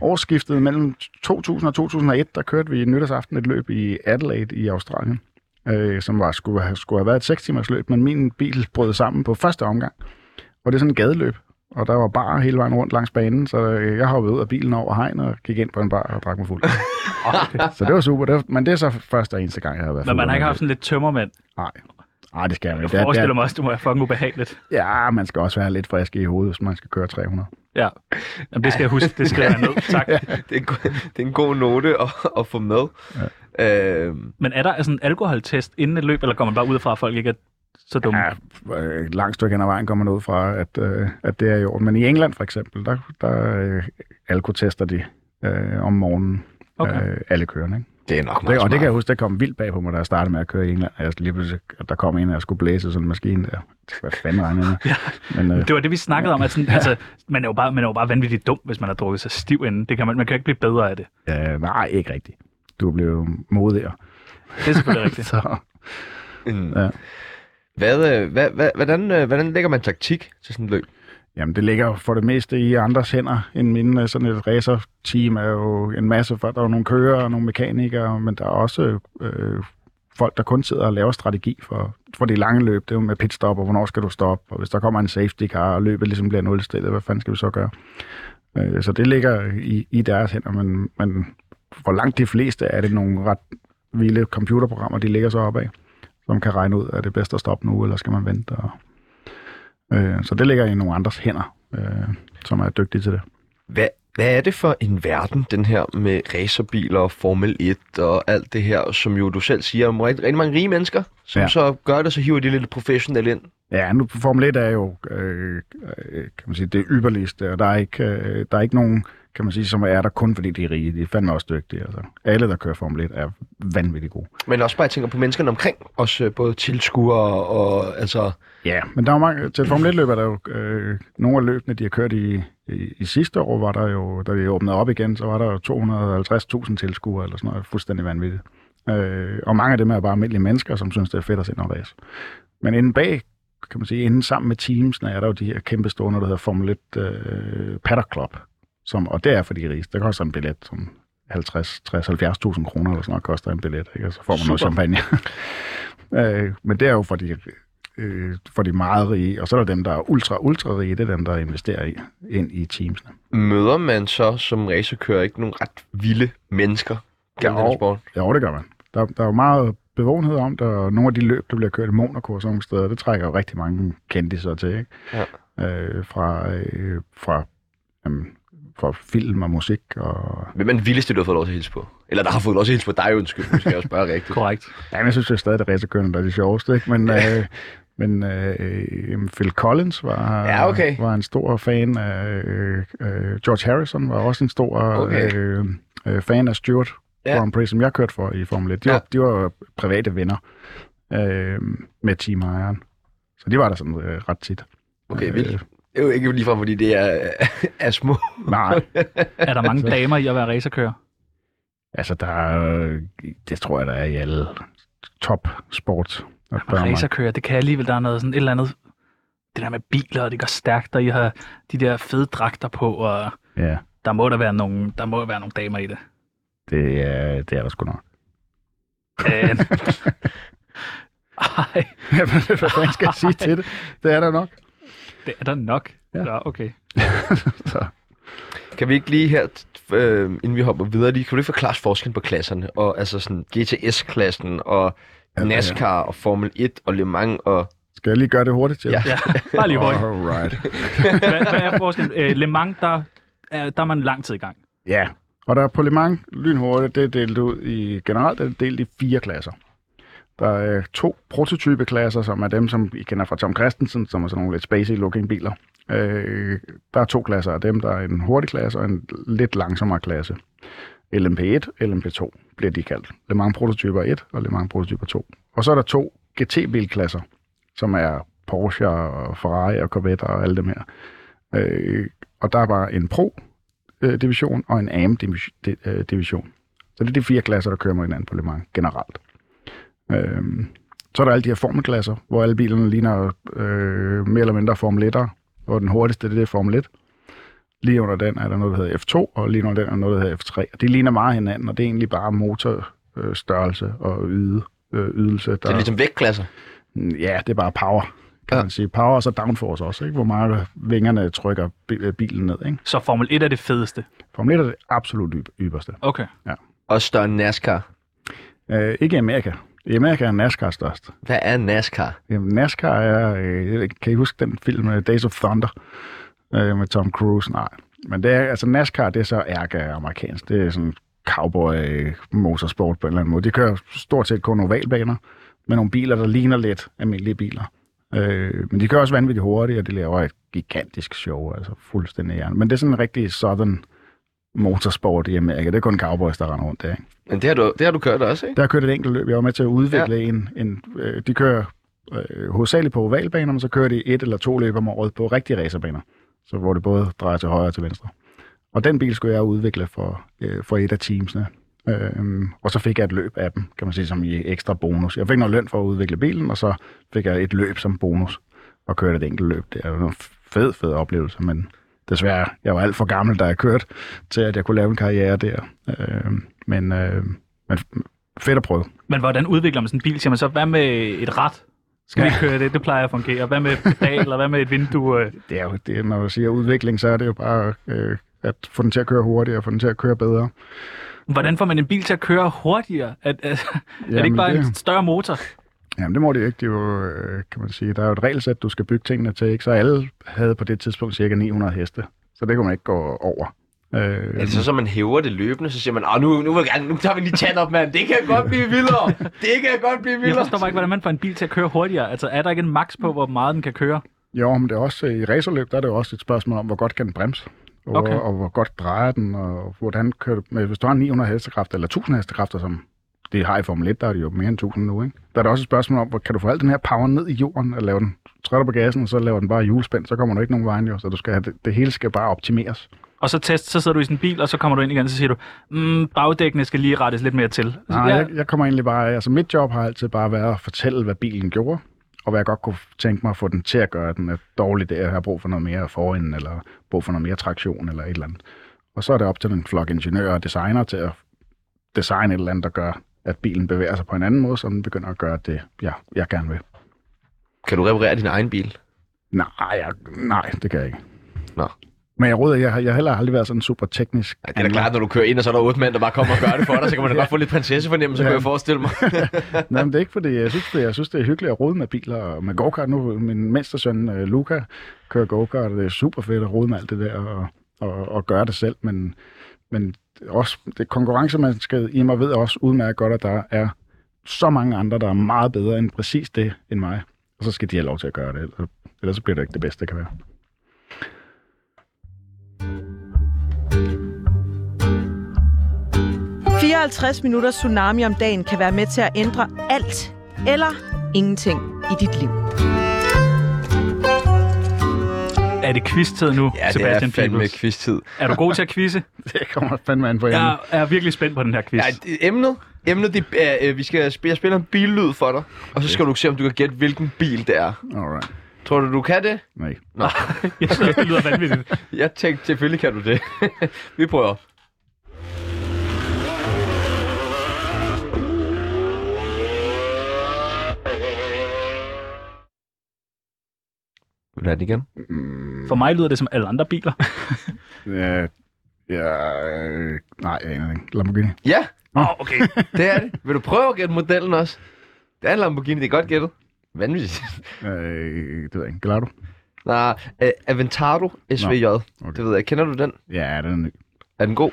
B: Årsskiftet mellem 2000 og 2001, der kørte vi nytårsaften et løb i Adelaide i Australien, øh, som var, skulle, have, skulle have været et 6 timers løb, men min bil brød sammen på første omgang. Og det er sådan et gadeløb, og der var bar hele vejen rundt langs banen, så øh, jeg hoppede ud af bilen over hegn og gik ind på en bar og drak mig fuld. så det var super, det var, men det er så første og eneste gang, jeg har været
C: Men man
B: fuld
C: har ikke
B: under
C: haft sådan lidt tømmermand.
B: det. Nej, det skal jeg jo
C: Jeg
B: ikke. Det er-
C: forestiller
B: det
C: mig også, det må være fucking ubehageligt.
B: er- Ja, man skal også være lidt frisk i hovedet, hvis man skal køre 300.
C: Ja. Jamen, det skal jeg huske. Det skriver jeg ned. Tak.
A: Det er en, go- det er en god note at, at få med. Ja. Øhm,
C: Men er der altså en alkoholtest inden et løb, eller kommer man bare ud fra, at folk ikke er så dumme?
B: Ja, øh, et langt stykke hen ad vejen kommer man ud fra, at, øh, at det er i orden. Men i England for eksempel, der, der øh, alkotester de øh, om morgenen.
C: Okay.
B: Øh, alle kørende. Ikke?
A: det er nok
B: Det,
A: meget
B: og det kan
A: smart.
B: jeg huske, det kom vildt bag på mig, da jeg startede med at køre i England. Og jeg lige pludselig, at der kom en, og jeg skulle blæse sådan en maskine der. Hvad fanden regner jeg med? Men, øh,
C: Det var det, vi snakkede om. At sådan, altså, man, er jo bare, man er jo bare vanvittigt dum, hvis man har drukket sig stiv inden. Det kan man, man kan jo ikke blive bedre af det.
B: øh, nej, ikke rigtigt. Du blev modigere.
C: Det er selvfølgelig rigtigt.
B: Så,
A: Mm.
B: Ja.
A: Hvad, øh, hvad, hvad, hvordan, øh, hvordan lægger man taktik til sådan et løb?
B: Jamen, det ligger jo for det meste i andres hænder end mine. Øh, Sådan et racer-team er jo en masse folk. Der er jo nogle kører og nogle mekanikere, men der er også øh, folk, der kun sidder og laver strategi for, for det lange løb. Det er jo med pitstop, og hvornår skal du stoppe, og hvis der kommer en safety car, og løbet ligesom bliver nulstillet, hvad fanden skal vi så gøre? Øh, så det ligger i, i deres hænder, men, men for langt de fleste er det nogle ret vilde computerprogrammer, de ligger så op af, som kan regne ud, er det bedst at stoppe nu, eller skal man vente? Og, Øh, så det ligger i nogle andres hænder, øh, som er dygtige til det.
A: Hvad, hvad er det for en verden, den her med racerbiler og Formel 1 og alt det her, som jo du selv siger, om rigtig, rigtig mange rige mennesker, som ja.
B: Ja.
A: så gør det, så hiver de lidt professionelle ind.
B: Ja, nu Formel 1 er jo øh, øh, kan man sige, det ypperligste, og der er, ikke, øh, der er ikke nogen, kan man sige, som er der kun fordi de er rige. De er fandme også dygtige. Altså. Alle, der kører Formel 1, er vanvittigt gode.
A: Men også bare, jeg tænker på menneskerne omkring, også øh, både tilskuere og altså...
B: Ja, men der er jo mange, til Formel 1-løb er der jo øh, nogle af løbene, de har kørt i, i, i sidste år, var der jo, da vi åbnede op igen, så var der jo 250.000 tilskuere eller sådan noget, fuldstændig vanvittigt. Øh, og mange af dem er bare almindelige mennesker, som synes, det er fedt at se noget race. Men inden bag, kan man sige, inden sammen med teamsene, er der jo de her kæmpe store, der hedder Formel 1 øh, Paddock Club, som, og det er for de rigeste. Der koster en billet som 50, 60, 70.000 kroner eller sådan noget, koster en billet, ikke? og så får man noget
A: Super.
B: champagne. øh, men det er jo for de øh, for de meget rige, og så er der dem, der er ultra, ultra rige, det er dem, der investerer i, ind i teamsene.
A: Møder man så som racerkører ikke nogle ret vilde mennesker gennem
B: Jo.
A: den her sport?
B: Ja, det gør man. Der, der er jo meget bevågenhed om det, og nogle af de løb, der bliver kørt i Monaco og sådan nogle steder, det trækker jo rigtig mange kendiser til, ikke? Ja. Øh, fra, øh, fra, jamen, fra film og musik og...
A: Hvem er den vildeste, du har fået lov til at hilse på? Eller der har fået lov til at hilse på dig, undskyld. Nu skal jeg også bare rigtigt.
C: Korrekt.
B: Ja, men jeg synes jo stadig, at racerkørende der er det sjoveste, ikke? Men, øh, men øh, øh, jamen, Phil Collins var,
A: Ja, okay.
B: var en stor fan af... Øh, øh, George Harrison var også en stor
A: Okay.
B: øh, øh, fan af Stewart
A: Ja.
B: ja. Grand Prix, som jeg kørte for i Formel 1. De,
A: Ja.
B: ja. var, de var private venner øh, med teamejeren. Så de var der sådan øh, ret tit.
A: Okay,
B: øh,
A: vildt. Det er jo ikke ligefrem, fordi det er, er små.
B: Nej,
C: Er der mange damer i at være racerkører?
B: altså der er, øh, det tror jeg, der er i alle top sports. Der er mange-
C: Racerkører, det kan jeg alligevel. Der er noget sådan et eller andet... Det der med biler, og det går stærkt, og I har de der fede dragter på, og
B: Ja,
C: der må der være nogle, der må være nogle damer i det.
B: det er, det er der sgu nok.
C: Øh, Ej,
B: Jamen, Hvad fanden skal jeg sige til det? Det er der nok.
C: det er der nok.
B: Ja.
C: Ja, okay.
B: Så.
A: Kan vi ikke lige her, t- øh, inden vi hopper videre, lige, kan du lige forklare os forskellen på klasserne? Og altså sådan GTS-klassen og
B: Ja, ja.
A: NASCAR og Formel 1 og Le Mans og...
B: Skal jeg lige gøre det hurtigt til?
A: Ja.
C: Ja, bare lige hurtigt.
B: Alright.
C: Hvad, hvad er forskellen? Øh, Le Mans, der, er, der er man lang tid i gang.
B: Ja, og der er på Le Mans lynhurtigt, det er delt ud i, generelt er det delt i fire klasser. Der er øh, to prototypeklasser, som er dem, som I kender fra Tom Christensen, som er sådan nogle lidt spacey looking biler. Øh, der er to klasser af dem. Der er en hurtig klasse og en lidt langsommere klasse. LMP1, LMP2 bliver de kaldt. Le Mans prototyper 1 og Le Mans prototyper 2. Og så er der to GT-bilklasser, som er Porsche og Ferrari og Corvette og alle dem her. Øh, og der er bare en Pro øh, division og en AM divi- di- øh, division. Så det er de fire klasser, der kører mod hinanden på Le Mans generelt. Øhm, så er der alle de her formelklasser, hvor alle bilerne ligner øh, mere eller mindre Formel 1'ere, hvor den hurtigste det er Formel 1. Lige under den er der noget, der hedder F2, og lige under den er der noget, der hedder F3. Og det ligner meget hinanden, og det er egentlig bare motorstørrelse og yde, øh, ydelse. Der,
A: Det er ligesom vægtklasser.
B: Ja, det er bare power, kan
A: Ja.
B: ja. man sige. Power og så downforce også, ikke? hvor meget vingerne trykker bi- øh, bilen ned. Ikke?
C: Så Formel 1 er det fedeste.
B: Formel 1 er det absolut yb- ypperste.
C: Okay.
A: Og større end NASCAR.
B: Øh, ikke i Amerika. I Amerika er NASCAR størst.
A: Hvad er NASCAR?
B: Jamen, NASCAR er... Øh, jeg ved ikke, kan I huske den film øh, Days of Thunder øh, med Tom Cruise? Nej. Men det er, altså NASCAR, det er så ærke amerikansk. Det er sådan cowboy øh, motorsport på en eller anden måde. De kører stort set kun ovalbaner med nogle biler, der ligner lidt almindelige biler. Øh, men de kører også vanvittigt hurtigt, og de laver et gigantisk show, altså fuldstændig jern. Men det er sådan en rigtig southern motorsport i Amerika. Det er kun cowboys, der render rundt der, ikke?
A: Men det har du, det har du kørt også, ikke?
B: Der har kørt et enkelt løb. Jeg var med til at udvikle ja. en... en øh, de kører øh, hovedsageligt på ovalbaner, men så kører de et eller to løb om året på rigtige racerbaner. Så hvor det både drejer til højre og til venstre. Og den bil skulle jeg udvikle for, øh, for et af teamsene. Øhm, og så fik jeg et løb af dem, kan man sige, som i ekstra bonus. Jeg fik noget løn for at udvikle bilen, og så fik jeg et løb som bonus og kørte et enkelt løb. Det er jo en fed, fed oplevelse, men desværre, jeg var alt for gammel, da jeg kørte, til at jeg kunne lave en karriere der. Øhm, men, øh, men fedt at prøve.
C: Men hvordan udvikler man sådan en bil? Siger man så, hvad med et rat? Skal vi køre det? Det plejer at fungere. Hvad med et pedal, eller hvad med et vindue? øh?
B: det er jo, det, når du siger udvikling, så er det jo bare øh, at få den til at køre hurtigere, få den til at køre bedre.
C: Hvordan får man en bil til at køre hurtigere? Er, er, er det ikke
B: Jamen,
C: bare en
B: det-
C: større motor?
B: Jamen, det må det jo ikke. Det er jo, øh, kan man sige, der er jo et regelsæt, du skal bygge tingene til, ikke? Så alle havde på det tidspunkt cirka 900 heste, så det kunne man ikke gå over. Øh,
A: Altså, så man hæver det løbende, så siger man, "Åh, nu, nu, vil jeg gerne, nu tager vi lige tand op, mand. Det kan godt blive vildere. Det kan godt blive
C: Jeg
A: vildere.
C: forstår bare ikke, hvordan man får en bil til at køre hurtigere. Altså, er der ikke en max på, hvor meget den kan køre?
B: Jo, men det er også, i racerløb, der er det jo også et spørgsmål om, hvor godt kan den bremse? Og,
C: Okay.
B: og hvor godt drejer den, og hvordan kører du, men hvis du har 900 hestekræfter, eller 1000 hestekræfter, som det har i Formel 1, der er det jo mere end 1000 nu, ikke? Der er det også et spørgsmål om, hvor kan du få al den her power ned i jorden, og lave den, træder på gassen, og så laver den bare hjulspænd, så kommer du ikke nogen vejen jo, så du skal have det, det hele skal bare optimeres.
C: Og så test, så sidder du i sådan en bil, og så kommer du ind igen, og så siger du, mm, bagdækkene skal lige rettes lidt mere til.
B: Nej,
C: ja,
B: jeg, jeg kommer egentlig bare, altså mit job har altid bare været at fortælle, hvad bilen gjorde, og hvad jeg godt kunne tænke mig at få den til at gøre. Den er dårlig der, jeg har brug for noget mere forenden, eller brug for noget mere traktion, eller et eller andet. Og så er det op til en flok ingeniører og designer til at designe et eller andet, der gør, at bilen bevæger sig på en anden måde, så den begynder at gøre det, jeg, jeg gerne vil.
A: Kan du reparere din egen bil?
B: Nej, jeg, nej, det kan jeg ikke.
A: Nå.
B: Men jeg råder, jeg, har- jeg har heller aldrig været sådan super teknisk.
A: Ja, det er da klart, når du kører ind, og så er der otte mænd, der bare kommer og gør det for dig, så kan man da godt få lidt prinsessefornemmelse, kan jeg forestille mig.
B: Nej, men det er ikke, fordi jeg synes, det, jeg synes, det er hyggeligt at rode med biler og med go-kart. Nu min mindste søn, øh, Luca, kører go-kart, og det er super fedt at rode med alt det der og, og, og gøre det selv. Men, men også det konkurrencemennesket i mig ved også udmærket godt, at der er så mange andre, der er meget bedre end præcis det end mig. Og så skal de have lov til at gøre det, ellers- ellers så bliver det ikke det bedste, det kan være.
D: det. 54 minutter tsunami om dagen kan være med til at ændre alt eller ingenting i dit liv.
C: er det quiz-tid nu,
A: Ja, det er
C: Sebastian
A: fandme
C: Peebles?
A: quiz-tid.
C: Er du god til at quizze?
B: Det kommer fandme an på ja.
C: Jeg er virkelig spændt på den her quiz.
A: Ja, det- emnet, emnet det er, øh, vi skal spille, jeg spiller en billyd for dig, og så skal du se, om du kan gætte, hvilken bil det er.
B: Alright.
A: Tror du, du kan det?
B: Nej.
C: Jeg synes, også, det lyder vanvittigt.
A: Jeg tænkte, selvfølgelig kan du det. vi prøver. Vil du have den igen?
C: For mig lyder det som alle andre biler.
B: Ja, ja, øh, nej, jeg aner det ikke. Lamborghini.
A: Ja, Ah,
C: Åh, oh, okay.
A: det er det. Vil du prøve at gætte modellen også? Det er en Lamborghini, det er godt gættet. Vanvittigt.
B: Øh, det ved jeg ikke. Gallardo?
A: Nej, uh, Aventado SVJ. Det ved jeg. Kender du den?
B: Ja, den er ny.
A: Er den god?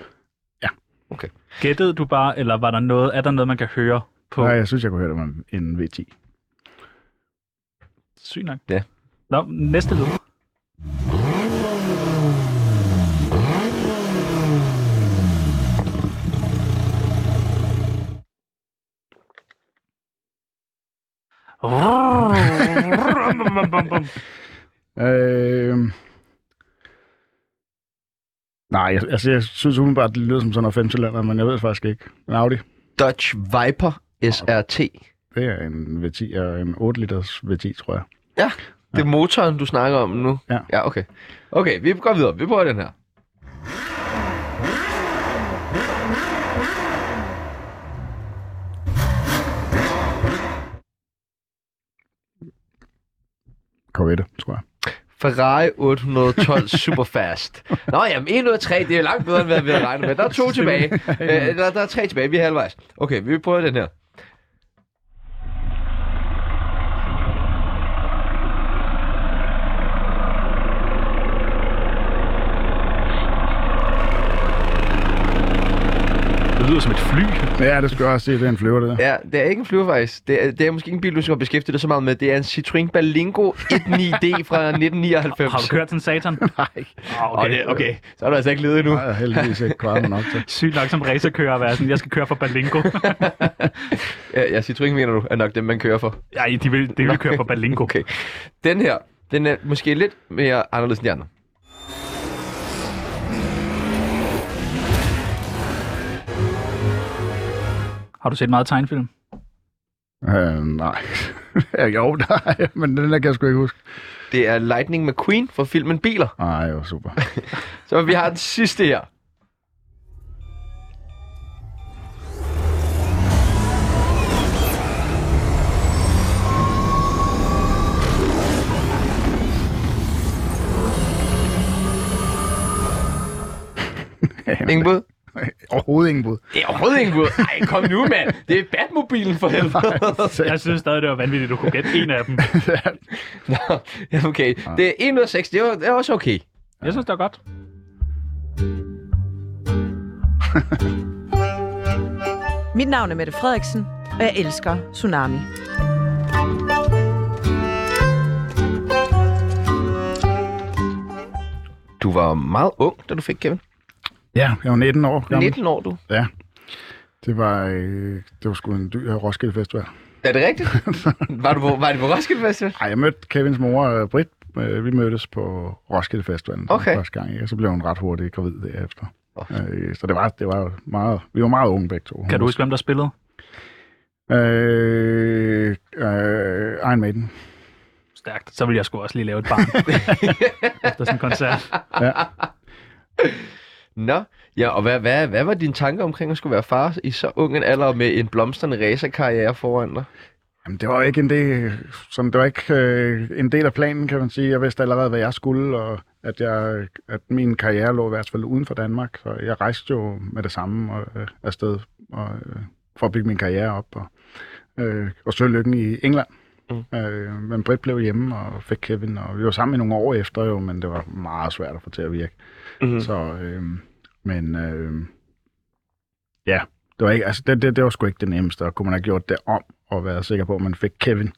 C: Gættede du bare, eller var der noget, er der noget, man kan høre på?
B: Nej, jeg synes, jeg kunne høre, det var en- en V10.
C: Sygt nok.
A: Ja.
C: Nå, næste lyd.
B: Øh... Nej, jeg, altså, jeg synes umiddelbart, det lyder som sådan noget femcylinder, men jeg ved det faktisk ikke. En Audi,
A: Dodge Viper SRT.
B: det er en V10 og en 8 liters V10, tror jeg.
A: Ja, det er motoren, du snakker om nu.
B: Ja.
A: ja okay. Okay, vi går videre. Vi prøver den her.
B: Corvette, tror jeg.
A: Ferrari 812 Superfast. Nå jamen, 1 ud af 3, det er jo langt bedre, end hvad vi havde regnet med. Der er to tilbage. Øh, der, der er tre tilbage, vi er halvvejs. Okay, vi prøver den her.
C: Det lyder som et fly.
B: Ja, det skal jeg også se, det er en flyver, det der.
A: Ja, det er ikke en flyver faktisk. Det er, det er måske ikke en bil, du skal beskæftige dig så meget med. Det er en Citroën Berlingo 19D fra 1999.
C: Har du kørt den satan?
B: Nej,
C: Ah,
A: Okay. Og det, okay, så er du altså ikke ledet endnu.
B: jeg har heldigvis ikke klaret mig nok til.
C: Sygt nok som racerkører at være sådan, jeg skal køre for Balingo.
A: Ja, ja, Citroën mener du er nok dem, man kører for.
C: Nej, de vil, de vil køre for Balingo.
A: Okay. Den her, den er måske lidt mere anderledes end de andre.
C: Har du set meget tegnfilm?
B: Øh, nej. jo, nej, men den der kan jeg sgu ikke huske.
A: Det er Lightning McQueen fra filmen Biler.
B: Ej, hvor super.
A: Så vi har den sidste her. Ingen bud?
B: Overhovedet ingen bud.
A: Det er overhovedet ingen bud. Ej, kom nu, mand. Det er Batmobilen for helvede.
C: Jeg synes stadig, det var vanvittigt, at du kunne gætte en af dem.
A: Nå, ja, okay. Det er 1 ud af 6. Det er, det er også okay.
C: Jeg synes, det var godt.
D: Mit navn er Mette Frederiksen, og jeg elsker Tsunami.
A: Du var meget ung, da du fik Kevin.
B: Ja, jeg var 19 år gammel.
A: 19 år, du.
B: Ja. Det var, øh, det var sgu en dyr Roskilde Festival.
A: Er det rigtigt? var, du på, var det på Roskilde Festival?
B: Ej, jeg mødte Kevins mor, øh, Britt. Øh, vi mødtes på Roskilde Festivalen den
A: Okay.
B: første gang, ikke? og så blev hun ret hurtigt gravid derefter.
A: Åh.
B: Øh, så det var, det var jo meget, vi var meget unge begge to.
C: Kan du huske, hvem der spillede?
B: Øh, øh, Iron Maiden.
C: Stærkt. Så vil jeg sgu også lige lave et barn. Efter sådan en koncert.
A: Nå, ja, og hvad, hvad, hvad var dine tanker omkring at skulle være far i så ung en alder og med en blomstrende racerkarriere foran dig?
B: Jamen, det var ikke en del, som det var ikke øh, en del af planen, kan man sige. Jeg vidste allerede, hvad jeg skulle, og at, jeg, at min karriere lå i hvert fald uden for Danmark. Så jeg rejste jo med det samme og, øh, afsted og, øh, for at bygge min karriere op og, øh, og søge lykken i England. Mm. Øh, men Britt blev hjemme og fik Kevin, og vi var sammen i nogle år efter jo, men det var meget svært at få til at virke.
A: Mhm.
B: Mm. Så, øh, men øh, ja, det var, ikke, altså, det, det, det var sgu ikke det nemmeste, og kunne man have gjort det om og været sikker på, at man fik Kevin,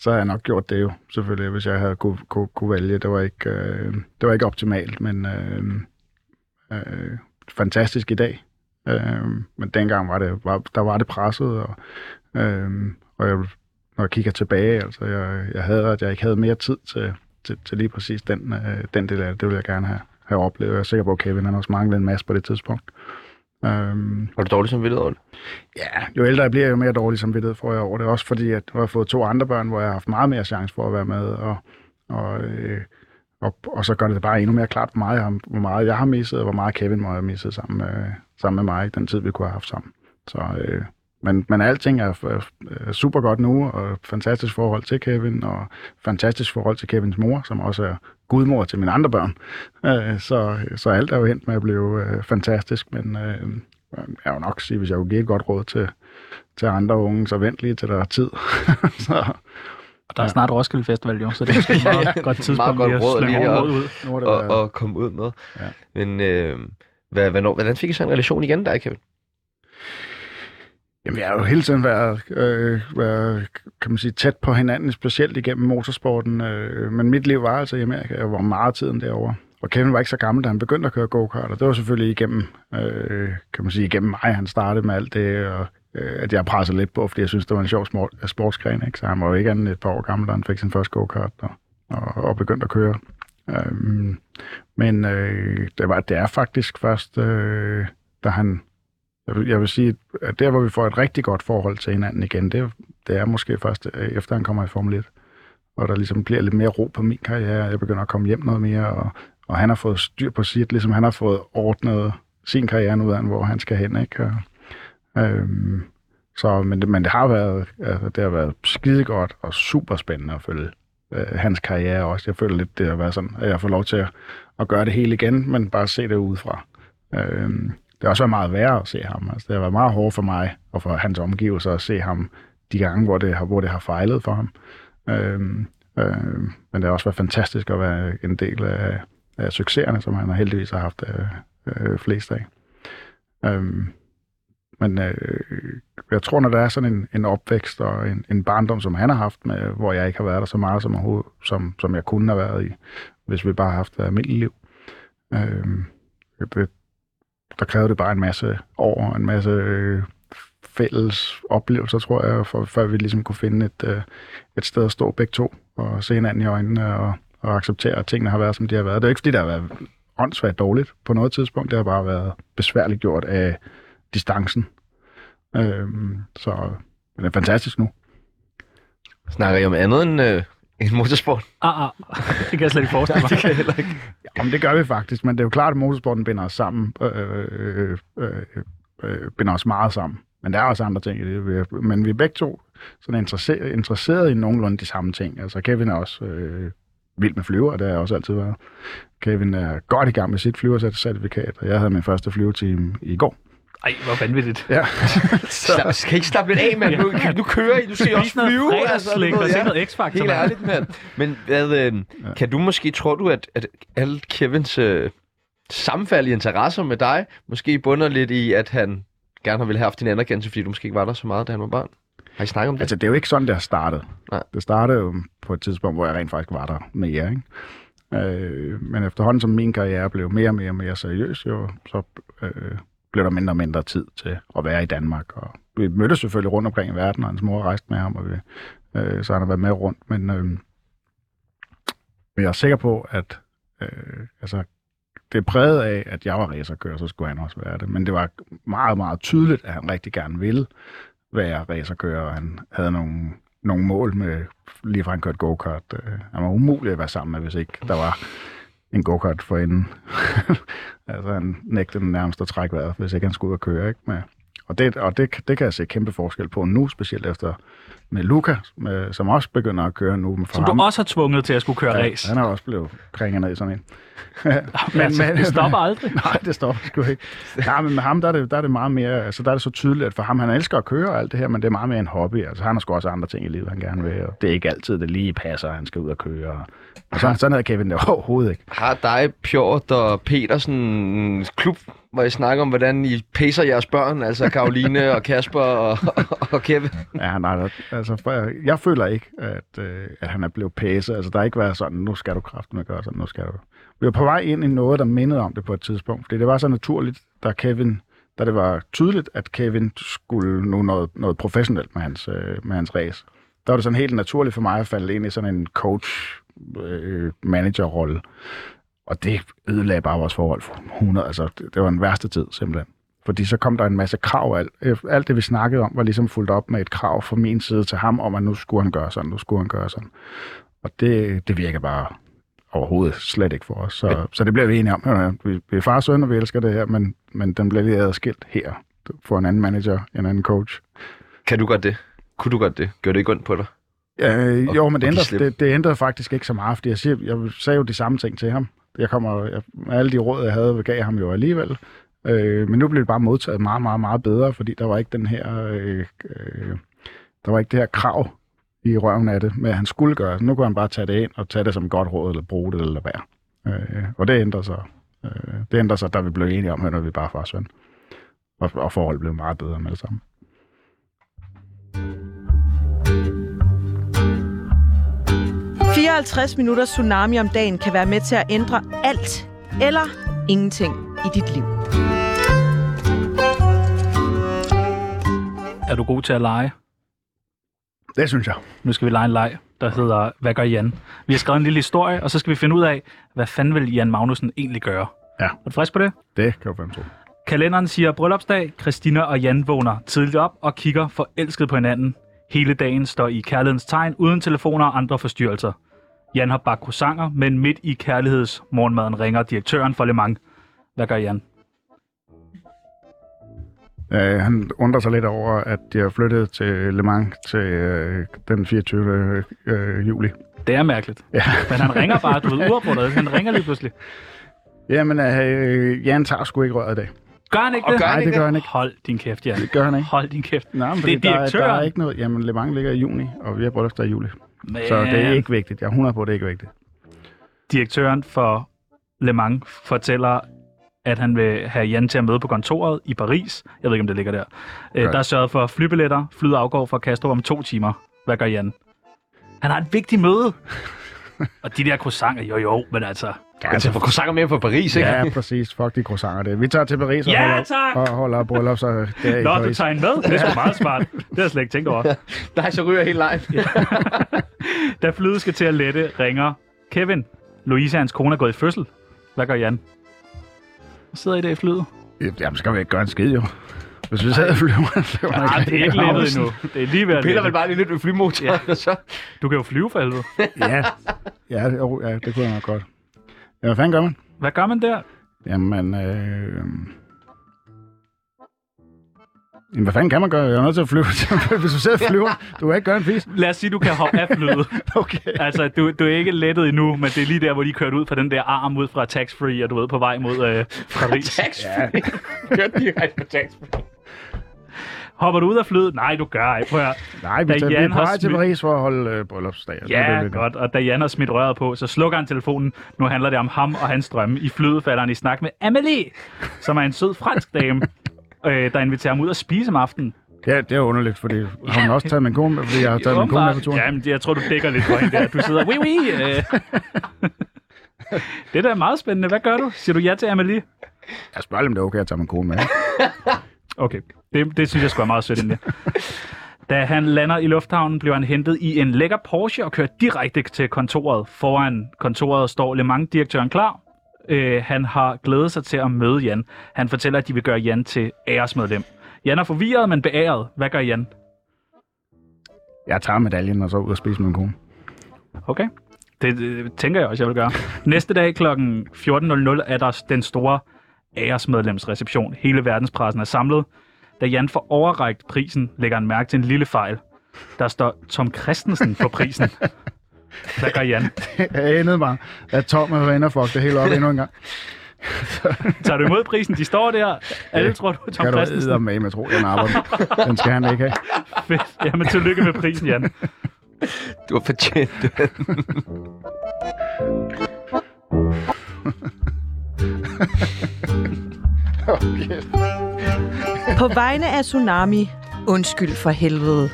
B: så havde jeg nok gjort det jo, selvfølgelig, hvis jeg havde kunne, kunne, kunne vælge. Det var, ikke, øh, det var ikke optimalt, men øh, øh, fantastisk i dag. Øh, men dengang var det, var, der var det presset, og, øh, og jeg, når jeg kigger tilbage, altså, jeg, jeg havde, at jeg ikke havde mere tid til, til, til lige præcis den, øh, den del af det. Det ville jeg gerne have, have oplevet. Jeg er sikker på, at Kevin han også manglede en masse på det tidspunkt. Øh,
A: Var du dårlig som vildt over det?
B: Ja, jo ældre jeg bliver, jo mere dårlig samvittighed får jeg over det. Også fordi, at nu har jeg fået to andre børn, hvor jeg har haft meget mere chance for at være med. Og, og, øh, og, og så gør det det bare endnu mere klart, hvor meget jeg har, hvor meget jeg har misset, og hvor meget Kevin må have misset sammen med, sammen med mig i den tid, vi kunne have haft sammen. Så, øh, men, men alting er øh, super godt nu, og fantastisk forhold til Kevin, og fantastisk forhold til Kevins mor, som også er gudmor til mine andre børn. Øh, så, så alt er jo hent med at blive øh, fantastisk, men... Øh, jeg vil nok sige, hvis jeg kunne give et godt råd til, til andre unge, så vent lige til der er tid. så
C: Og der er snart Roskilde Festival, jo, så det er måske et
A: Ja, ja.
C: meget godt tidspunkt
A: Meget godt
C: at
A: råd
C: slynge
A: lige
C: et
A: at-
C: råd ud.
B: nu er det
A: Og,
B: og,
A: og komme ud med.
B: Ja.
A: Men øh, hvad, hvornår, hvordan fik I så en relation igen, dig, Kevin?
B: Jamen, jeg har jo hele tiden været, øh, været, kan man sige, tæt på hinanden, specielt igennem motorsporten. Øh, men mit liv var altså i Amerika. Jeg var meget tiden derovre. Og Kevin var ikke så gammel, da han begyndte at køre go-kart, og det var selvfølgelig igennem, øh, kan man sige, igennem mig, han startede med alt det, og øh, at jeg pressede lidt på, fordi jeg synes, det var en sjov smor- sportsgren, ikke? Så han var jo ikke andet end et par år gammel, da han fik sin første go-kart og, og, og begyndte at køre. Øhm, men øh, det, var, det er faktisk først, øh, da han... Jeg vil, jeg vil sige, at der, hvor vi får et rigtig godt forhold til hinanden igen, det, det er måske først øh, efter, han kommer i Formel 1. Og der ligesom bliver lidt mere ro på min karriere, og jeg begynder at komme hjem noget mere, og, og han har fået styr på sit, ligesom han har fået ordnet sin karriere nu, hvor han skal hen, ikke? Og, øhm, så, men, det, men det har været, altså, det har været skidegodt og super spændende at følge øh, hans karriere også. Jeg føler lidt, det har været sådan, at jeg får lov til at, at gøre det hele igen, men bare se det udefra. Øh, det har også været meget værre at se ham. Altså, det har været meget hårdt for mig og for hans omgivelser at se ham de gange, hvor det har, hvor det har fejlet for ham. Øh, øh, men det har også været fantastisk at være en del af, af succeserne, som han heldigvis har haft øh, øh, flest af. Øhm, men øh, jeg tror, når der er sådan en, en opvækst og en, en barndom, som han har haft, med, hvor jeg ikke har været der så meget, som, overhovedet- som, som jeg kunne have været i, hvis vi bare har haft et almindeligt liv, øhm, det, der krævede det bare en masse år og en masse øh, fælles oplevelser, tror jeg, for, før vi ligesom kunne finde et, øh, et sted at stå begge to og se hinanden i øjnene og, og acceptere, at tingene har været, som de har været. Det er jo ikke, fordi der har været åndssvagt dårligt på noget tidspunkt. Det har bare været besværligt gjort af distancen. Øhm, så den er fantastisk nu.
A: Snakker I om andet end, øh, end motorsport?
C: Ah, ah. Det kan jeg slet ikke forestille mig.
A: jeg heller ikke.
B: Jamen, det gør vi faktisk, men det er jo klart, at motorsporten binder os sammen. Øh, øh, øh, øh, binder os meget sammen. Men der er også andre ting i det. Vi er- Men vi er begge to sådan interesseret, interesseret i nogenlunde de samme ting. Altså Kevin er også øh, vild med flyver, og det har jeg også altid været. Kevin er godt i gang med sit flyvercertifikat, og jeg havde min første flyvetime i går.
C: Ej, hvor vanvittigt.
B: Ja.
A: Slap, skal I ikke slappe lidt af, mand? Nu, nu kører I, nu ser I også
C: Spis noget
A: flyve. altså,
C: fredagsslik
A: du ved,
C: og se
A: ja.
C: noget X-Factor.
A: Helt
C: mand.
A: ærligt, mand. Men hvad, øh, kan du måske, tror du, at, at alle Kevins øh, sammenfald i interesser med dig, måske bunder lidt i, at han gerne ville have haft din anerkendelse, fordi du måske ikke var der så meget, da han var barn? Har I snakket om det?
B: Altså, det er jo ikke sådan, det har startet.
A: Nej.
B: Det startede jo på et tidspunkt, hvor jeg rent faktisk var der med jer, ikke? Øh, men efterhånden, som min karriere blev mere og mere, og mere seriøs, jo, så øh, blev der mindre og mindre tid til at være i Danmark. Og vi mødtes selvfølgelig rundt omkring i verden, og hans mor rejste med ham, og vi, øh, så han har været med rundt. Men øh, men jeg er sikker på, at øh, altså, det er præget af, at jeg var racerkører, så skulle han også være det. Men det var meget, meget tydeligt, at han rigtig gerne ville være racerkører, og han havde nogle, nogle mål med, lige fra han kørte go-kart. Øh, Han var umulig at være sammen med, hvis ikke der var en go-kart for enden. altså han nægtede den nærmest at trække vejret, hvis ikke han skulle ud og køre. Ikke? Med, og det, og det, det kan jeg se kæmpe forskel på nu, specielt efter med Luca, med, som også begynder at køre nu. For
C: Som du også har tvunget til at skulle køre
B: Ja,
C: race.
B: han er også blevet kringet ned i sådan en.
C: Men, altså, det stopper aldrig.
B: Nej, det stopper sgu ikke. Nej, men med ham, der er, det, der er det meget mere, altså der er det så tydeligt, at for ham, han elsker at køre og alt det her, men det er meget mere en hobby. Altså han har sgu også andre ting i livet, han gerne vil, og det er ikke altid, det lige passer, at han skal ud og køre. Og sådan, sådan havde Kevin det overhovedet ikke.
A: Har dig, Pjort og Petersen en klub, hvor I snakker om, hvordan I pacer jeres børn, altså Karoline og Kasper og, og, og Kevin?
B: Ja, nej, der- altså for, jeg, jeg føler ikke, at, øh, at han er blevet pæset. Altså der har ikke været sådan, nu skal du kraften med gøre sådan, nu skal du. Vi var på vej ind i noget, der mindede om det på et tidspunkt, fordi det var så naturligt, da Kevin da det var tydeligt, at Kevin skulle nu noget, noget professionelt med hans, øh, med hans race. der var det sådan helt naturligt for mig at falde ind i sådan en coach-manager-rolle. Og det ødelagde bare vores forhold for 100. Altså, det, det var den værste tid, simpelthen. Fordi så kom der en masse krav. Alt, øh, alt det, vi snakkede om, var ligesom fuldt op med et krav fra min side til ham, om at nu skulle han gøre sådan, nu skulle han gøre sådan. Og det, det virker bare overhovedet slet ikke for os. Så, så det bliver vi enige om. Øh, Vi, vi er far og søn, og vi elsker det her, men, men den bliver lige adskilt her. Du får en anden manager, en anden coach.
A: Kan du godt det? Kunne du godt det? Gør det ikke ondt på dig?
B: Øh,
A: Og-
B: jo, men det
A: og give
B: ændrede,
A: slip.
B: det, det ændrede faktisk ikke så meget, fordi jeg, siger, jeg sagde jo de samme ting til ham. Jeg kommer, jeg, alle de råd, jeg havde, gav jeg ham jo alligevel. Øh, men nu blev det bare modtaget meget, meget, meget bedre, fordi der var ikke den her, øh, øh, der var ikke det her krav i røven af det, med at han skulle gøre. Så nu kunne han bare tage det ind og tage det som et godt råd, eller bruge det, eller hvad. Øh, og det ændrede sig. Øh, det ændrede sig, da vi blev enige om, at nu er vi bare far og søn. Og, og forholdet blev meget bedre med det samme.
D: det. 54 minutter tsunami om dagen kan være med til at ændre alt eller ingenting i dit liv.
C: Er du god til at lege?
B: Det synes jeg.
C: Nu skal vi lege en leg, der hedder, hvad gør Jan? Vi har skrevet en lille historie, og så skal vi finde ud af, hvad fanden vil Jan Magnussen egentlig gøre?
B: Ja.
C: Er du frisk på det?
B: Det kan jeg fandme tro.
C: Kalenderen siger bryllupsdag, Christina og Jan vågner tidligt op og kigger forelsket på hinanden. Hele dagen står i kærlighedens tegn, uden telefoner og andre forstyrrelser. Jan har bagt croissanter, men midt i kærlighedsmorgenmaden ringer direktøren for Le Mans. Hvad gør Jan?
B: Øh, han undrer sig lidt over, at de har flyttet til Le Mans til øh, den 24. Øh, juli.
C: Det er mærkeligt.
B: Ja.
C: Men han ringer bare, du ved, uafbrudt. Han ringer lige pludselig.
B: Jamen, øh, Jan tager sgu ikke røret i dag.
C: Gør han ikke
A: Og
C: det?
A: gør
B: Nej,
A: han
B: det
A: ikke
B: gør
A: det?
B: han ikke.
C: Hold din kæft, Jan.
B: Det gør han ikke.
C: Hold din kæft.
B: Nej, men
C: Det
B: fordi
C: er
B: der, er- der er
C: direktøren.
B: ikke noget. Jamen, Le Mans ligger i juni, og vi har bryllupsdag i juli.
C: Men
B: Så det er ikke vigtigt. Jeg er 100 på, at det er ikke vigtigt.
C: Direktøren for Le Mans fortæller, at han vil have Jan til at møde på kontoret i Paris. Jeg ved ikke, om det ligger der. Øh,
B: Gør
C: Der er sørget for flybilletter. Flyet afgår fra Castro om to timer. Hvad gør Jan? Han har et vigtigt møde. Og de der croissanter, jo jo, men altså...
A: Ja, altså, for croissanter med fra Paris, ikke?
B: Ja, præcis. Fuck de croissanter det. Vi tager til Paris og
C: Ja,
B: holder,
C: tak!
B: og holder bryllup, så det er i
C: Nå, du
B: Paris.
C: tager en med? Det er sgu meget smart. Det har jeg slet ikke tænkt over.
A: Nej, så ryger helt live.
C: Da flyet skal til at lette, ringer Kevin. Louise, hans kone, er gået i fødsel. Hvad gør Jan? Hvor sidder I der i flyet?
B: Jamen, skal vi ikke gøre en skid, jo. Hvis vi sad i flyveren, så var
C: Nej, det er ikke lettet
B: Havsen.
C: endnu. Det er lige ved at
A: Piller vel
C: lette.
A: bare lige lidt ved flymotoren, ja. og så...
C: Du kan jo flyve for helvede.
B: Ja, ja, det, jo, ja, det kunne jeg nok godt. Ja, hvad fanden gør man?
C: Hvad gør man der?
B: Jamen, øh... Jamen, hvad fanden kan man gøre? Jeg er nødt til at flyve. Hvis du sidder og flyver, du kan ikke gøre en fisk.
C: Lad os sige, du kan hoppe af flyet.
B: Okay.
C: Altså, du, du er ikke lettet endnu, men det er lige der, hvor de kørte ud fra den der arm ud fra Tax Free, og du ved, på vej mod øh, Paris.
A: Tax free. Kørte direkte på tax free.
C: Hopper du ud af flyet? Nej, du gør ej. Prøv at høre.
B: Nej, vi,
C: Da
B: tager, vi
C: Jan
B: er på
C: har
B: vej til
C: smidt-
B: Paris for at holde øh, bryllupsdag. og så er
C: Ja,
B: det lidt-
C: godt. Og da Jan har smidt røret på, så slukker han telefonen. Nu handler det om ham og hans drømme. I flyet falder han i snak med Amélie, som er en sød fransk dame, øh, der inviterer ham ud at spise om aftenen.
B: Ja, det er underligt, fordi har hun også taget min kone med, fordi jeg har taget min kone med på turen.
C: Jamen, jeg tror, du dækker lidt for hende der. Du sidder, oui, oui. Øh. det der er meget spændende. Hvad gør du? Siger du ja til Amélie?
B: Jeg spørger dem, det er okay, at jeg tager min kone med.
C: Okay, det, det synes jeg skulle være meget sødt egentlig. Da han lander i lufthavnen, bliver han hentet i en lækker Porsche og kørt direkte til kontoret. Foran kontoret står Le Mans-direktøren klar. Øh, han har glædet sig til at møde Jan. Han fortæller, at de vil gøre Jan til æresmedlem. Jan er forvirret, men beæret. Hvad gør Jan?
B: Jeg tager medaljen og så ud og spiser med min kone.
C: Okay. Det, det tænker jeg også, jeg vil gøre. Næste dag kl. 14.00 er der den store æresmedlemsreception. Hele verdenspressen er samlet. Da Jan får overrækt prisen, lægger han mærke til en lille fejl. Der står Tom Christensen for prisen. Hvad gør Jan?
B: Jeg anede mig, at Tom havde været inde og fuck det hele op endnu en gang.
C: Tager du imod prisen? De står der. Alle tror, du er Tom
B: Kan du
C: Christensen.
B: æde med, jeg tror, den arbejder. Den skal han ikke have.
C: Fedt. Jamen, tillykke med prisen, Jan.
A: Du har fortjent det.
D: På vegne af Tsunami, undskyld for helvede.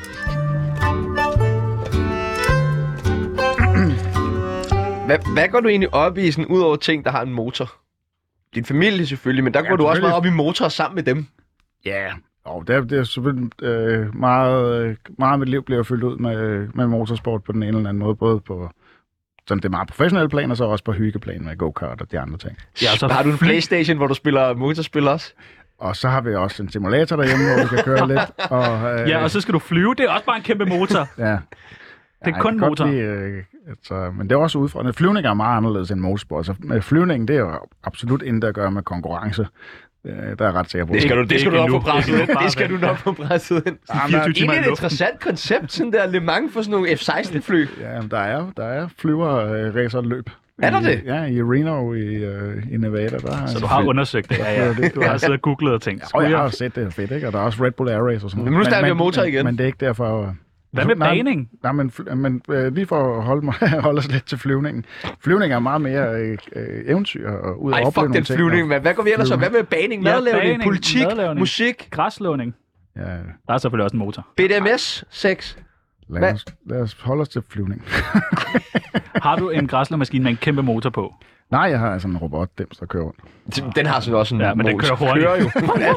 A: Hvad, hvad går du egentlig op i, sådan, ud over ting, der har en motor? Din familie selvfølgelig, men der ja, går du også
B: selvfølgelig.
A: meget op i motorer sammen med dem.
B: Ja, yeah. og det er, det er selvfølgelig øh, meget, øh, meget af mit liv bliver fyldt ud med, øh, med motorsport på den ene eller den anden måde, både på sådan det meget professionelle plan, og så også på hyggeplan med go-kart og de andre ting.
C: Ja, så
A: har du en
C: fly-
A: Playstation, hvor du spiller motorspil også?
B: Og så har vi også en simulator derhjemme, hvor vi kan køre lidt. Og, øh,
C: Ja, og så skal du flyve. Det er også bare en kæmpe motor.
B: ja.
C: Det er
B: Ej,
C: kun
B: jeg kan godt
C: motor.
B: Lide, øh, altså, men det er også udfordrende. Flyvning er meget anderledes end motorsport. Så øh, flyvningen, det er jo absolut intet at gøre med konkurrence. Øh, der er jeg ret sikker på.
A: Det skal du,
C: det
A: det skal
C: er
A: du nok
C: ikke
A: få presset
C: endnu.
A: ind.
C: Det er ikke bare
A: Det skal du
C: vent.
A: nok få presset ind. Ah,
B: Jamen,
C: 24 timer
A: Egentlig
C: i
A: er det et
C: luften.
A: interessant koncept, sådan der Le Mans for sådan nogle F-16-fly.
B: Ja, men der er, der er flyverracerløb.
A: Er der det?
B: I, ja, i Reno i, øh, i Nevada. Der,
C: Så du har undersøgt det. Ja, ja. Du har siddet og googlet og tænkt.
B: og
C: skulle
B: jeg har jo
C: jeg-
B: set det er fedt, ikke? Og der er også Red Bull Air Race og sådan noget.
A: Men nu snakker vi om motor
B: men,
A: igen.
B: Men det er ikke derfor... øh,
C: Hvad med
B: nej,
C: baning?
B: Nej, men, fly- men øh, lige for at holde, mig, holde os lidt til flyvningen. Flyvningen er meget mere øh, øh, eventyr og ud og
A: Ej,
B: opleve
A: fuck
B: nogle
A: den
B: ting,
A: flyvning, mand. Hvad går vi ellers om? Hvad
B: Flyvning.
A: med baning,
C: Ja,
A: madlavning,
C: baning,
A: politik,
C: madlavning.
A: musik,
C: Græslåning.
B: og- Ja,
C: Der er selvfølgelig også en motor.
A: BDMS, sex?
B: lad,
A: Hvad?
B: os, lad os holde os til flyvning.
C: Har du en græslemaskine med en kæmpe motor på?
B: Nej, jeg har altså en robot, dem der kører rundt.
A: Den har sådan også en
C: Ja, men den
A: motor.
C: kører hurtigt.
A: Kører jo. Ja,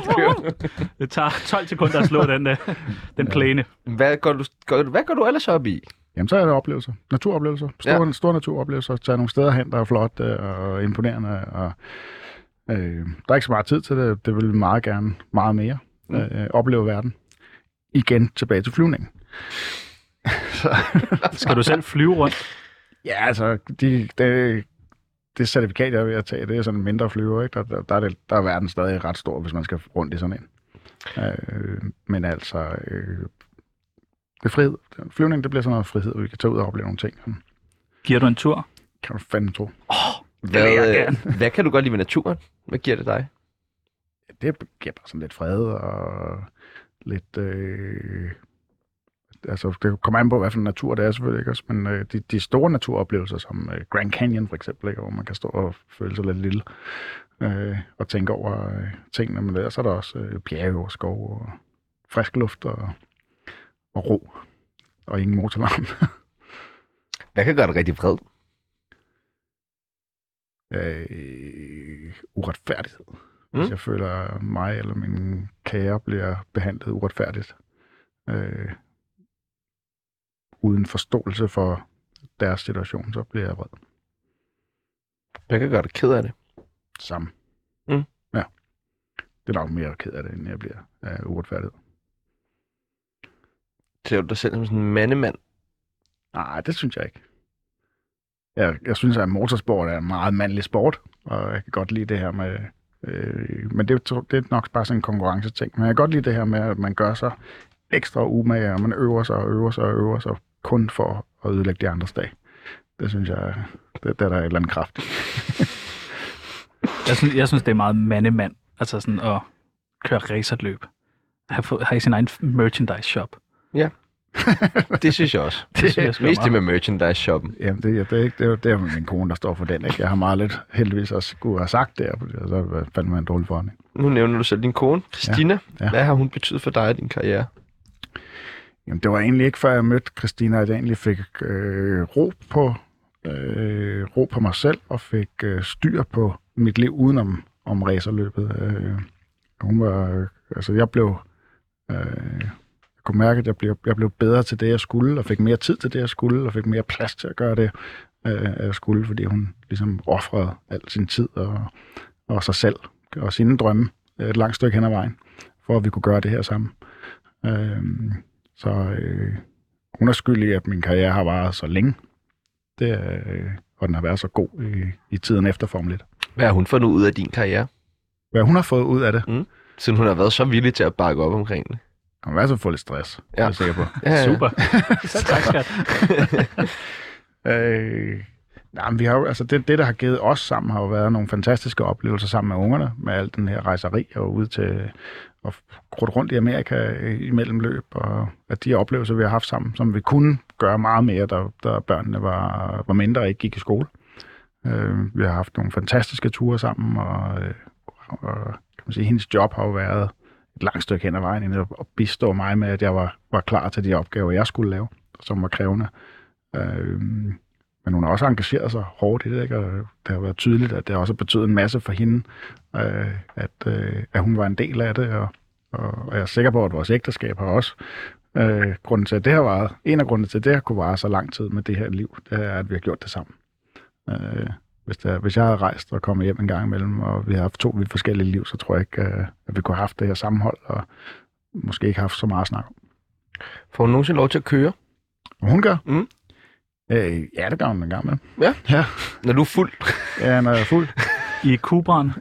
A: den kører.
C: Det tager 12 sekunder at slå den, øh, den plæne.
A: Hvad går, du, gør, hvad går du ellers op i?
B: Jamen, så er det oplevelser. Naturoplevelser. Store, ja. store naturoplevelser. Tage nogle steder hen, der er flot øh, og imponerende. Og, øh, der er ikke så meget tid til det. Det vil vi meget gerne meget mere. Mm. Øh, opleve verden. Igen tilbage til flyvningen.
C: Skal du selv flyve rundt?
B: Ja, altså, de, det, det certifikat, jeg er ved at tage, det er sådan en mindre flyver, ikke? Der, der, der, er, det, der er verden stadig ret stor, hvis man skal rundt i sådan en. Øh, men altså, øh, det er frihed. Flyvning, det bliver sådan noget frihed, vi kan tage ud og opleve nogle ting.
C: Giver du en tur?
B: Kan du fandme tro.
C: Det vil jeg
A: øh,
C: gerne.
A: hvad kan du godt lide ved naturen? Hvad giver det dig?
B: Det giver bare sådan lidt fred og lidt... Øh, altså, det kommer an på, hvad for en natur det er selvfølgelig, ikke også? Men øh, de, de store naturoplevelser, som øh, Grand Canyon for eksempel, ikke? hvor man kan stå og føle sig lidt lille øh, og tænke over øh, tingene, men ellers er der også øh, bjerge og skov og frisk luft og, og ro og ingen motorlarm.
A: Hvad kan gøre dig rigtig vred?
B: øh, uretfærdighed. Mm.
A: Mm.
B: Hvis jeg føler, at mig eller min kære bliver behandlet uretfærdigt, øh, uden forståelse for deres situation, så bliver jeg vred.
A: Hvad kan gøre dig ked af det?
B: Sammen.
A: Mm.
B: Ja. Det er nok mere ked af det, end jeg bliver af uretfærdighed.
A: Ser du dig selv som sådan en mandemand?
B: Nej, det synes jeg ikke. Jeg, jeg synes, at motorsport er en meget mandlig sport, og jeg kan godt lide det her med... Øh, men det, tror- det er nok bare sådan en konkurrenceting. Men jeg kan godt lide det her med, at man gør sig ekstra umage, og man øver sig og øver sig og øver sig, kun for at ødelægge de andres dag. Det synes jeg, det, det er der et eller andet kraft. i.
C: Jeg synes, jeg synes det er meget mandemand. Altså sådan at køre racerløb. Har, fået, har i sin egen merchandise shop.
A: Det synes jeg også.
C: Det synes jeg sgu
A: Mest det
C: meget.
A: med merchandise-shoppen.
B: Jamen, det, ja, det, er ikke, det, er, jo- det er min kone, der står for den. Ikke? Jeg har meget lidt heldigvis også skulle have sagt det, og så fandt man en dårlig forhånd.
A: Nu nævner du selv din kone, Christina. Ja. Ja.
B: ja.
A: Hvad har hun betydet for dig og din karriere?
B: Jamen, det var egentlig ikke før jeg mødte Christina, at jeg egentlig fik øh, ro, på, øh, ro på mig selv og fik øh, styr på mit liv udenom om racerløbet. Øh, hun var, øh, altså jeg blev, øh, jeg kunne mærke, at jeg blev, jeg blev bedre til det, jeg skulle, og fik mere tid til det, jeg skulle, og fik mere plads til at gøre det, øh, jeg skulle, fordi hun ligesom offrede al sin tid og, og sig selv og sine drømme øh, et langt stykke hen ad vejen, for at vi kunne gøre det her sammen. Øh, så øh, hun er skyld i, at min karriere har varet så længe. Det, er, øh, og den har været så god i, i tiden efter Formel 1.
A: Hvad har hun fundet ud af din karriere?
B: Hvad hun har fået ud af det,
A: Siden hun har været så villig til at bakke op omkring det.
B: hun har været så fået lidt stress, ja.
A: Ja.
B: er jeg sikker på.
A: Ja, ja.
C: Super. Så tak, skat.
B: Øh, nej, men vi har jo, altså det, det, der har givet os sammen, har jo været nogle fantastiske oplevelser sammen med ungerne, med al den her rejseri og ude til og krudt rundt i Amerika øh, imellem løb, og at de oplevelser, vi har haft sammen, som vi kunne gøre meget mere, da, da børnene var, var mindre og ikke gik i skole. Øh, vi har haft nogle fantastiske ture sammen, og, øh, og kan man sige, hendes job har jo været et langt stykke hen ad vejen, end at at bistå mig med, at jeg var, var klar til de opgaver, jeg skulle lave, som var krævende. Øh, men hun har også engageret sig hårdt i det, ikke? og det har været tydeligt, at det også har betydet en masse for hende, øh, at, øh, at hun var en del af det, og, og, og jeg er sikker på, at vores ægteskab har også øh, grunden til, at det har varet, en af grundene til, at det har kunne vare så lang tid med det her liv, det er, at vi har gjort det sammen. Øh, hvis, der, hvis jeg havde rejst og kommet hjem en gang imellem, og vi havde haft to vidt forskellige liv, så tror jeg ikke, øh, at vi kunne have haft det her sammenhold, og måske ikke haft så meget at snakke om.
A: Får hun nogensinde lov til at køre?
B: Hvad hun gør?
A: Mm.
B: Øh, ja, det gør hun en gang imellem.
A: Når du er fuld?
B: Ja, når jeg er fuld.
C: I Kubran.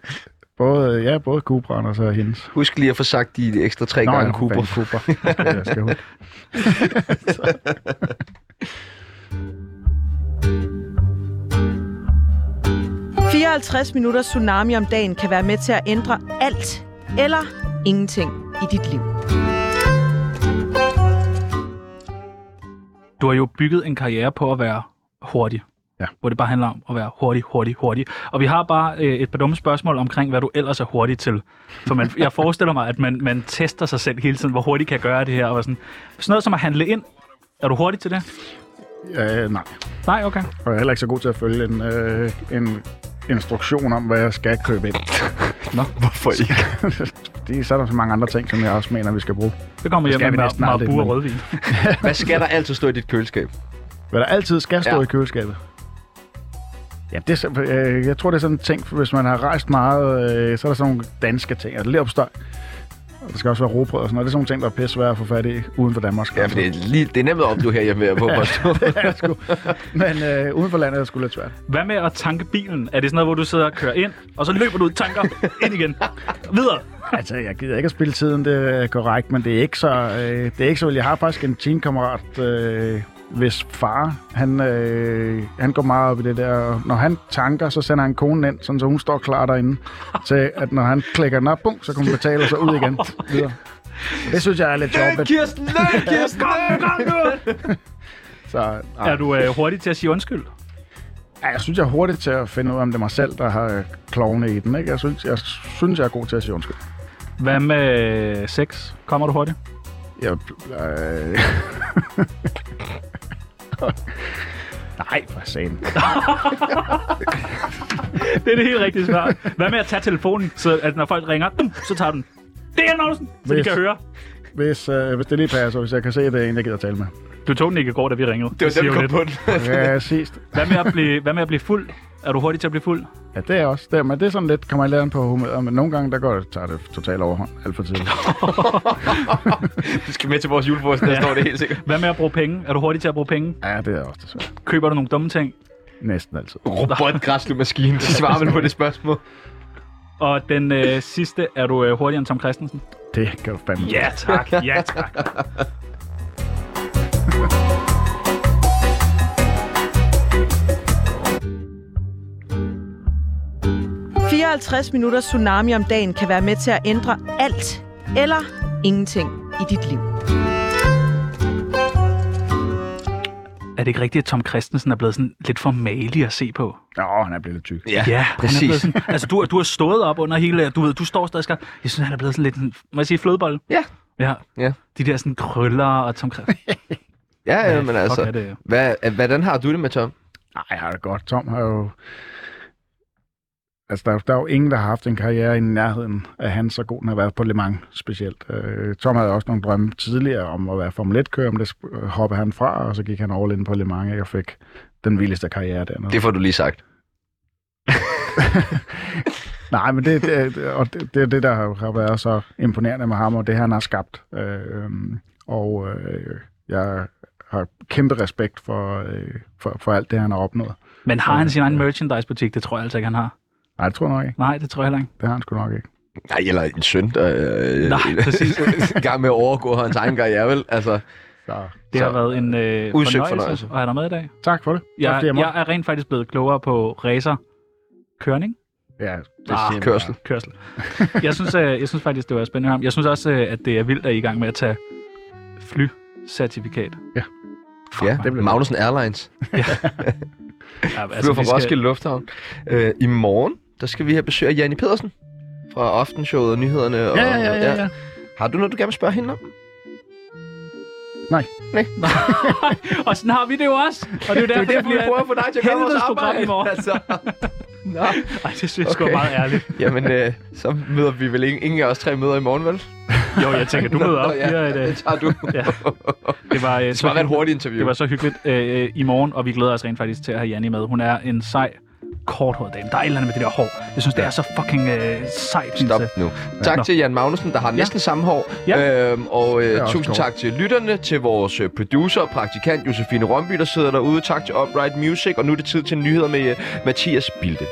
B: Både, ja, både Cooper'en og så hendes.
A: Husk lige at få sagt de ekstra tre Nå, gange
B: for
A: Cooper.
B: fanden, Cooper. Det skal jeg- skal jeg huske.
D: det. 54 minutter tsunami om dagen kan være med til at ændre alt eller ingenting i dit liv.
C: Du har jo bygget en karriere på at være hurtig.
B: Ja.
C: Hvor det bare handler om at være hurtig, hurtig, hurtig. Og vi har bare øh, et par dumme spørgsmål omkring, hvad du ellers er hurtig til. For man, jeg forestiller mig, at man, man tester sig selv hele tiden, hvor hurtigt kan jeg gøre det her. Og sådan. sådan noget som at handle ind. Er du hurtig til det?
B: øh, nej,
C: Nej, okay.
B: og jeg er heller ikke så god til at følge en, øh, en instruktion om, hvad jeg skal købe ind.
C: Nå,
A: Hvorfor ikke?
B: Fordi så er der så mange andre ting, som jeg også mener, vi skal bruge.
C: det kommer
B: Det skal
C: hjem
B: vi
C: med
B: næsten aldrig,
C: marabu og
B: men-
C: rødvin.
A: Hvad skal der altid stå i dit køleskab?
B: Hvad der altid skal stå
A: Ja.
B: ja. i køleskabet. Ja, det er, sim- øh, jeg tror, det er sådan en ting, for hvis man har rejst meget, øh, så er der sådan nogle danske ting. Altså leverpostej. Og der skal også være robrød og sådan noget. Det er sådan nogle ting, der er pisse svært at få fat i uden for Danmark.
A: Ja, for det er, lige, det er nemt at opdrive her hjemme, jeg på påstå.
B: Men øh, uden for landet er det sgu lidt svært.
C: Hvad med at tanke bilen? Er det sådan noget, hvor du sidder og kører ind, og så løber du ud, tanker, ind igen, videre?
B: Altså, jeg gider ikke at spille tiden, det er korrekt, men det er ikke så... Øh, det er ikke så, jeg har faktisk en teenkammerat, øh, hvis far, han, øh, han går meget op i det der. Når han tanker, så sender han konen ind, sådan, så hun står klar derinde. Til at når han klikker den op, bum, så kan hun betale sig ud igen. Videre. Det synes jeg er lidt sjovt.
A: Kirsten, nej, Kirsten,
B: Så, nej.
C: Er du øh, hurtig til at sige undskyld?
B: Ja, jeg synes, jeg er hurtigt til at finde ud af, om det er mig selv, der har øh, klovne i den. Ikke? Jeg, synes, jeg synes, jeg er god til at sige undskyld.
C: Hvad med øh, sex? Kommer du hurtigt?
B: Jeg, øh... Nej, for satan.
C: Det er det helt rigtige svar. Hvad med at tage telefonen, så at når folk ringer, dum, så tager du den. Det er Jan Magnussen, så de
B: Hvis-
C: kan høre.
B: Hvis, øh, hvis det lige passer, hvis jeg kan se, at det er en, jeg gider tale med.
C: Du tog den ikke i går, da vi ringede.
A: Det var
C: siger
A: dem,
C: jo
A: der kom
C: lidt.
A: på den.
B: Ja, sidst.
C: Hvad med at blive, hvad med at blive fuld? Er du hurtig til at blive fuld?
B: Ja, det er også. Det, er- men det er sådan lidt, kommer jeg lære på humøret, men nogle gange, der går, tager det totalt overhånd. Alt for tidligt.
A: Du skal med til vores julefrokost næste år, det er helt sikkert.
C: Hvad med at bruge penge? Er du hurtig til at bruge penge?
B: Ja, det er også desværre.
C: Køber du nogle dumme ting?
B: Næsten altid.
A: Robotgræslemaskinen, de svarer vel på det spørgsmål.
C: Og den øh, sidste, er du øh, hurtigere end Tom Christensen?
B: Det kan du fandme.
C: Ja tak, ja tak.
D: det. 54 minutter tsunami om dagen kan være med til at ændre alt eller ingenting i dit liv.
C: Er det ikke rigtigt, at Tom Christensen er blevet sådan lidt for malig at se på?
B: Nå, han er blevet lidt tyk.
C: han er blevet Sådan, altså, du, du har stået op under hele... Du ved, du står stadig... skak. Jeg synes, han er blevet sådan lidt... sådan- Må jeg sige flødebold?
A: Ja.
C: Ja.
A: Ja.
C: De der sådan krøller og Tom Christensen.
A: Ja, ja, men
C: Fuck, er
A: altså,
C: det.
A: hvad, hvordan har du det med Tom?
B: Nej, jeg har det godt. Tom har jo... Altså, der, er- der er jo ingen, der har haft en karriere i nærheden af han, så god den har været på Le Mans specielt. Øh, Tom havde også nogle drømme tidligere om at være Formel 1-kører, men det sp- øh, hoppede han fra, og så gik han all in på Le Mans, ikke, og fik den vildeste karriere dernede.
A: Det får du lige sagt.
B: Nej, men det, det, det- og det, det er det, der har har været så imponerende med ham, og det han har skabt. Øh, øhm, og øh, jeg har kæmpe respekt for, øh, for, for alt det, han har opnået.
C: Men har han sin egen merchandise-butik? Det tror jeg altså ikke, han har.
B: Nej, det tror jeg nok ikke.
C: Nej, det tror jeg heller ikke.
B: Det har han sgu nok ikke.
A: Nej, eller en søn, der øh,
C: Nej, præcis.
A: i gang med at overgå hans egen karriere, vel? Altså,
B: Så,
C: Det
A: Så,
C: har været en øh,
A: udsøgt
C: fornøjelse,
A: fornøjelse.
C: at have dig med i dag.
B: tak for det. tak,
C: Jeg,
B: fordi jeg,
C: jeg
B: måtte.
C: er rent faktisk blevet klogere på racer. Kørning?
B: ja,
A: ah, kørsel.
C: Kørsel. jeg, synes, øh, jeg synes faktisk, det var spændende ham. Jeg synes også, øh, at det er vildt, at I er i gang med at tage flycertifikat.
A: Ja,
B: det blev-
A: Magnussen Airlines.
C: Ja,
A: Altså, flyver
C: vi
A: fra Roskilde Lufthavn. Øh, I morgen, der skal vi have besøg af Janni Pedersen fra Aftenshowet og nyhederne. Og,
B: ja, ja, ja, ja.
A: Har du noget, du gerne vil spørge hende om?
C: Skal... og sådan har vi det jo også. Og det er jo
A: Det er
C: derfor,
A: jo
C: det
A: derfor, vi
C: bliver...
A: prøver at få dig til at gøre vores
C: helvedes program
A: arbejde.
C: i morgen.
A: Altså, Nå,
C: Ej, det synes jeg sgu er
A: Okay.
C: meget ærligt.
A: jamen, øh, så møder vi vel ingen, ingen af os tre møder i morgen, vel?
C: Jo, jeg tænker, du møder op.
A: Nå, ja,
C: Ja,
A: ja, det
C: det,
A: tager du.
C: Ja. det var, øh,
A: Det skal bare være et hurtigt
C: Det
A: interview.
C: var så hyggeligt øh, i morgen, og vi glæder os rent faktisk til at have Janni med. Hun er en sej, korthåret dame. Der er et eller andet med det der hår. Jeg synes, det er så fucking øh, sejt. synes
A: Stop
C: jeg.
A: nu. Tak
C: Nå.
A: til Jan Magnussen, der har næsten samme hår.
C: Ja.
A: Øhm, og
B: er
A: øh,
B: også
A: tusind
B: sjovt.
A: tak til lytterne, til vores øh, producer og praktikant Josefine Romby, der sidder derude. Tak til Upright Music, og nu er det tid til nyheder med øh, Mathias Bilde.